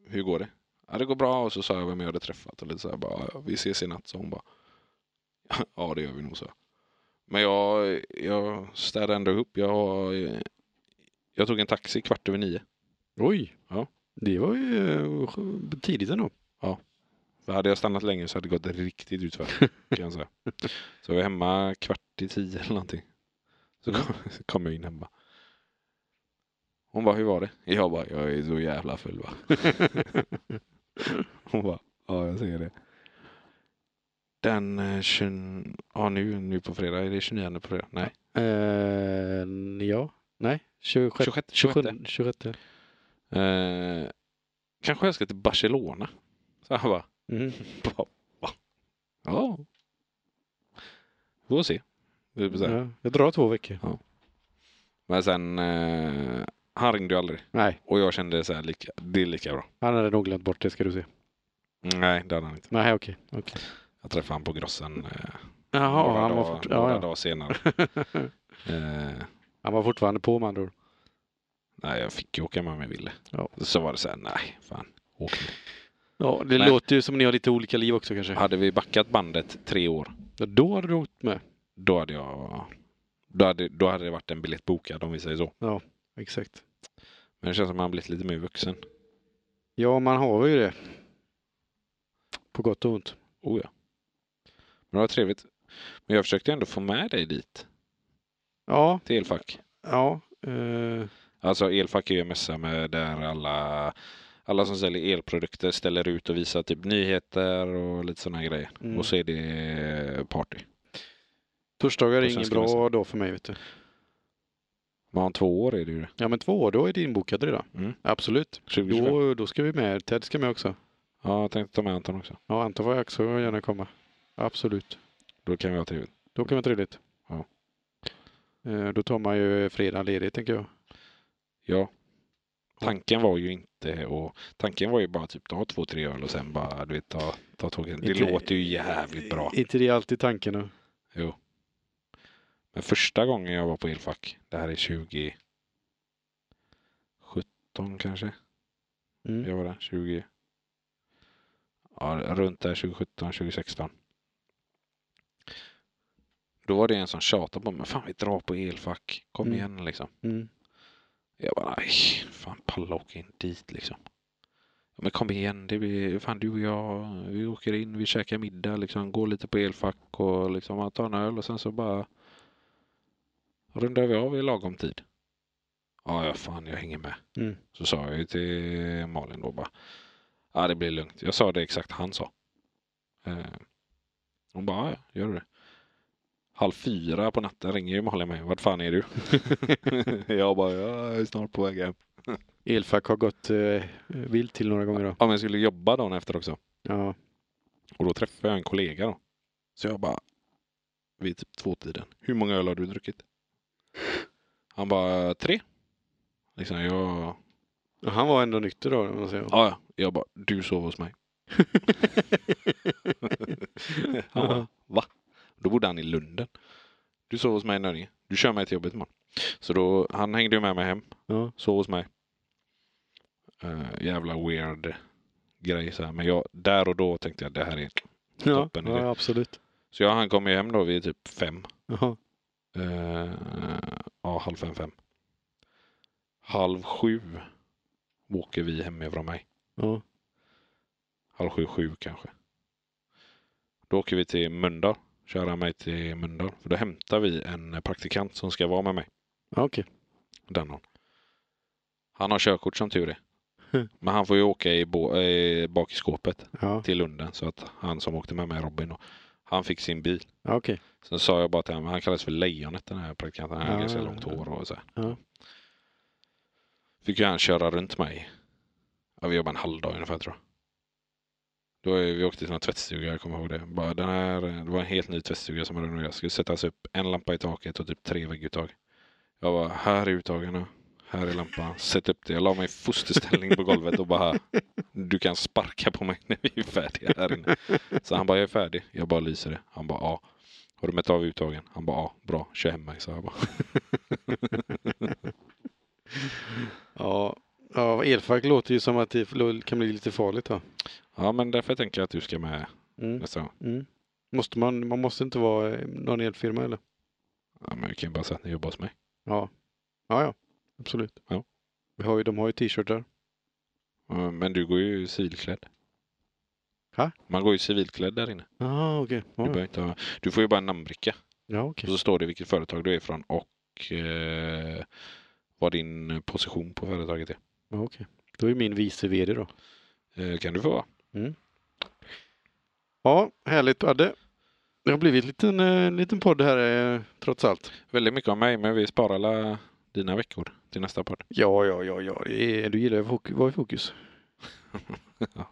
Speaker 2: hur går det? Ja, det går bra. Och så sa jag vem jag hade träffat. Och lite så här, bara, vi ses i natt. Så hon bara. ja, det gör vi nog så. Men jag, jag städade ändå upp. Jag, eh, jag tog en taxi kvart över nio.
Speaker 1: Oj!
Speaker 2: Ja.
Speaker 1: Det var ju eh, tidigt ändå.
Speaker 2: För hade jag stannat längre så hade det gått riktigt utför. Kan jag säga. Så jag var hemma kvart i tio eller någonting. Så kom, så kom jag in hemma. Hon bara, hur var det? Jag bara, jag är så jävla full va. <laughs> Hon bara, ja jag ser det. Den eh, 20, ja nu, nu på fredag, är det 29 på fredag? Nej,
Speaker 1: Eh, ja, nej. 26,
Speaker 2: 26.
Speaker 1: 27, 26.
Speaker 2: Eh, kanske jag ska till Barcelona. Så han bara,
Speaker 1: Mm.
Speaker 2: "Va? Va?" ja. Vi får se. Vi får se.
Speaker 1: Ja, jag drar två veckor.
Speaker 2: Men sen, eh, han ringde ju aldrig.
Speaker 1: Nej,
Speaker 2: Och jag kände så här, lika, det är lika bra.
Speaker 1: han hade nog glömt bort det ska du se.
Speaker 2: Nej, det hade han inte.
Speaker 1: Nej, okej. okej.
Speaker 2: Jag träffade han på Grossen eh,
Speaker 1: Jaha,
Speaker 2: några,
Speaker 1: han var,
Speaker 2: dagar,
Speaker 1: fort,
Speaker 2: några
Speaker 1: ja, ja. <laughs>
Speaker 2: dagar senare. eh,
Speaker 1: han var fortfarande på med andra ord.
Speaker 2: nej, jag fick ju åka med om jag ville.
Speaker 1: Ja.
Speaker 2: Så var det så här, nej, fan. Åk inte.
Speaker 1: Ja, det
Speaker 2: Men-
Speaker 1: låter ju som ni har lite olika liv också kanske.
Speaker 2: Hade vi backat bandet tre år,
Speaker 1: Ja, då hade du åkt med.
Speaker 2: då hade jag... Då hade, då hade det varit en biljett bokad om vi säger så.
Speaker 1: Exakt.
Speaker 2: Men det känns som att han blivit lite mer vuxen.
Speaker 1: Ja, man har ju det. På gott och ont.
Speaker 2: Oh ja. Men det var trevligt. Men jag försökte ändå få med dig dit,
Speaker 1: Ja,
Speaker 2: till Elfack.
Speaker 1: ja. eh,
Speaker 2: Alltså Elfack är ju en mässa med där alla, alla som säljer elprodukter ställer ut och visar typ nyheter och lite sådana grejer.
Speaker 1: Mm.
Speaker 2: Och så är det party.
Speaker 1: torsdagar
Speaker 2: På
Speaker 1: är ingen
Speaker 2: svenska
Speaker 1: bra
Speaker 2: mässan.
Speaker 1: dag för mig. Vet du.
Speaker 2: Men om två år är det ju det.
Speaker 1: Ja, men två år, då är det inbokat redan.
Speaker 2: Mm.
Speaker 1: Absolut.
Speaker 2: 2025.
Speaker 1: Då, då ska vi med. Ted ska med också.
Speaker 2: Ja, jag tänkte ta med Anton också.
Speaker 1: Ja, Anton var jag också gärna komma. Absolut.
Speaker 2: Då kan vi ha trevligt.
Speaker 1: Då kan det vara trevligt.
Speaker 2: Ja.
Speaker 1: Eh, Då tar man ju fredag ledigt tänker jag.
Speaker 2: Ja. Tanken var ju inte och Tanken var ju bara typ ta två, tre öl och sen bara du vet ta, ta tåget. Det
Speaker 1: Inte-
Speaker 2: låter ju jävligt bra.
Speaker 1: Inte det är alltid tanken. då?
Speaker 2: Men första gången jag var på Elfack, det här är 2017 kanske.
Speaker 1: Mm.
Speaker 2: Jag var där 20. Ja, runt där 2017, 2016. Då var det en som tjatade på mig. Fan vi drar på elfack. Kom
Speaker 1: Mm.
Speaker 2: igen liksom.
Speaker 1: Mm.
Speaker 2: Jag bara nej. Fan palla åka in dit liksom. Ja, Men kom igen. Det blir, fan du och jag. Vi åker in. Vi käkar middag liksom. Går lite på elfack och liksom man tar en öl och sen så bara. Rundar vi av i lagom tid. Ja, ja fan jag hänger med.
Speaker 1: Mm.
Speaker 2: Så sa jag ju till Malin då bara. Ja det blir lugnt. Jag sa det exakt han sa. Eh, hon bara, ja, ja, gör det. Halv fyra på natten ringer ju Malin mig. Vart fan är du? jag bara, jag är snart på väg hem.
Speaker 1: Elfack har gått eh, vilt till några gånger då.
Speaker 2: Ja men jag skulle jobba dagen efter också.
Speaker 1: Ja.
Speaker 2: Och då träffade jag en kollega då. Så jag bara, vid typ tvåtiden. Hur många öl har du druckit? Han bara, tre. Liksom jag,
Speaker 1: Han var ändå nykter då. om Man säger.
Speaker 2: ja ja. Jag bara, du sov hos mig. Han bara, va? Då bodde han i Lunden. Du sov hos mig i Nöringe. Du kör mig till jobbet imorgon. Så då, han hängde ju med mig hem.
Speaker 1: Ja.
Speaker 2: Sov hos mig. Eh, jävla weird grej så här. Men jag, där och då tänkte jag det här är...
Speaker 1: Ja.
Speaker 2: Toppen, eller?
Speaker 1: ja, absolut.
Speaker 2: Så jag och han kom ju hem då vid typ fem.
Speaker 1: Jaha.
Speaker 2: Eh, ja, halv fem, fem. Halv sju åker vi hemifrån mig.
Speaker 1: Ja.
Speaker 2: Halv sju, sju kanske. Då åker vi till Mölndal. Kör han mig till Mölndal. För då hämtar vi en praktikant som ska vara med mig.
Speaker 1: Ja, Okej.
Speaker 2: Den hon. Han har körkort som tur är.
Speaker 1: Hm.
Speaker 2: Men han får ju åka i bo- eh, bak i skåpet
Speaker 1: Ja.
Speaker 2: till Lunden. Så att han som åkte med mig, Robin, och han fick sin bil.
Speaker 1: Ja, Okej.
Speaker 2: Sen sa jag bara till honom, han kallas för Lejonet den här praktikanten. Han har
Speaker 1: Ja,
Speaker 2: ganska
Speaker 1: ja,
Speaker 2: långt
Speaker 1: ja.
Speaker 2: hår och så här.
Speaker 1: Ja.
Speaker 2: Fick ju han köra runt mig. Ja, vi jobbade en halv dag ungefär tror jag. Då är vi åkte till en tvättstuga, jag kommer ihåg det. Bara, den här, det var en helt ny tvättstuga som hade renoverats. Skulle sättas upp en lampa i taket och typ tre vägguttag. Jag bara, här är uttagarna. Här är lampan. Sätt upp det. Jag la mig i fosterställning på golvet och bara,
Speaker 1: <laughs>
Speaker 2: du kan sparka på mig när vi är färdiga här inne. Så han bara, jag är färdig. Jag bara lyser det. Han bara, ja. Har du mätt av uttagen? Han bara, ja. Bra, kör hem mig. Så jag bara,
Speaker 1: Ja, ja elfack låter ju som att det lo- kan bli lite farligt. Då.
Speaker 2: ja men därför tänker jag att du ska med
Speaker 1: Mm.
Speaker 2: nästa gång.
Speaker 1: Mm. Måste man, man måste inte vara eh, någon elfirma eller?
Speaker 2: Ja, men jag kan ju bara säga att ni jobbar hos mig.
Speaker 1: Ja, ja, ja. absolut.
Speaker 2: Ja.
Speaker 1: Vi har ju, de har ju t-shirtar.
Speaker 2: Ja, Men du går ju civilklädd.
Speaker 1: Ha?
Speaker 2: Man går ju civilklädd där inne.
Speaker 1: Ah, okej. Ja,
Speaker 2: Du, behöver inte ha... du får ju bara en namnbricka.
Speaker 1: ja,
Speaker 2: Och
Speaker 1: okej.
Speaker 2: så står det vilket företag du är ifrån och eh, vad din position på företaget är.
Speaker 1: Ja, okej. Då är min vice vd då.
Speaker 2: Eh, kan du få vara?
Speaker 1: Ja, härligt Adde. Det har blivit en liten, eh, liten podd här eh, trots allt.
Speaker 2: Väldigt mycket om mig, men vi sparar alla dina veckor till nästa podd.
Speaker 1: Ja, ja, ja, ja. det är- Du gillar ju att fok- vara i <laughs> fokus.
Speaker 2: Ja.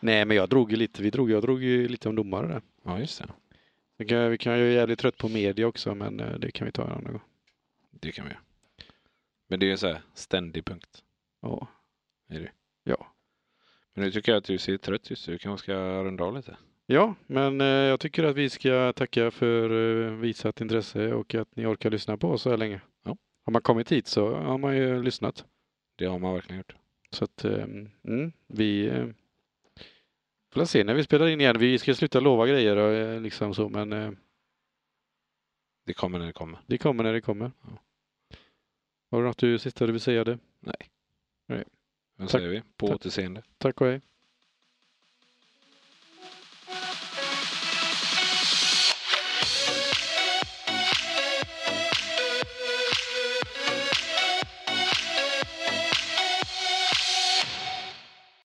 Speaker 1: Nej, men jag drog ju lite. Vi drog, jag drog ju lite om domare där.
Speaker 2: Ja, just det.
Speaker 1: Vi kan, vi kan ju vara jävligt trött på media också, men eh, det kan vi ta en annan gång.
Speaker 2: Det kan vi göra. Men det är ju så här ständig punkt.
Speaker 1: Ja.
Speaker 2: Är det?
Speaker 1: Ja.
Speaker 2: Men nu tycker jag att du ser trött ut, så du kanske ska runda av lite.
Speaker 1: Ja, men eh, jag tycker att vi ska tacka för eh, visat intresse och att ni orkar lyssna på oss så här länge.
Speaker 2: Ja.
Speaker 1: Har man kommit hit så har man ju lyssnat.
Speaker 2: Det har man verkligen gjort.
Speaker 1: Så att eh, mm, vi eh, får se när vi spelar in igen. Vi ska sluta lova grejer och eh, liksom så, men eh,
Speaker 2: Det kommer när det kommer.
Speaker 1: det kommer när det kommer.
Speaker 2: Ja.
Speaker 1: Har du något du sista du vill säga det?
Speaker 2: Nej.
Speaker 1: Nej.
Speaker 2: Vad
Speaker 1: Tack.
Speaker 2: säger vi? På
Speaker 1: Tack.
Speaker 2: återseende.
Speaker 1: Tack och hej.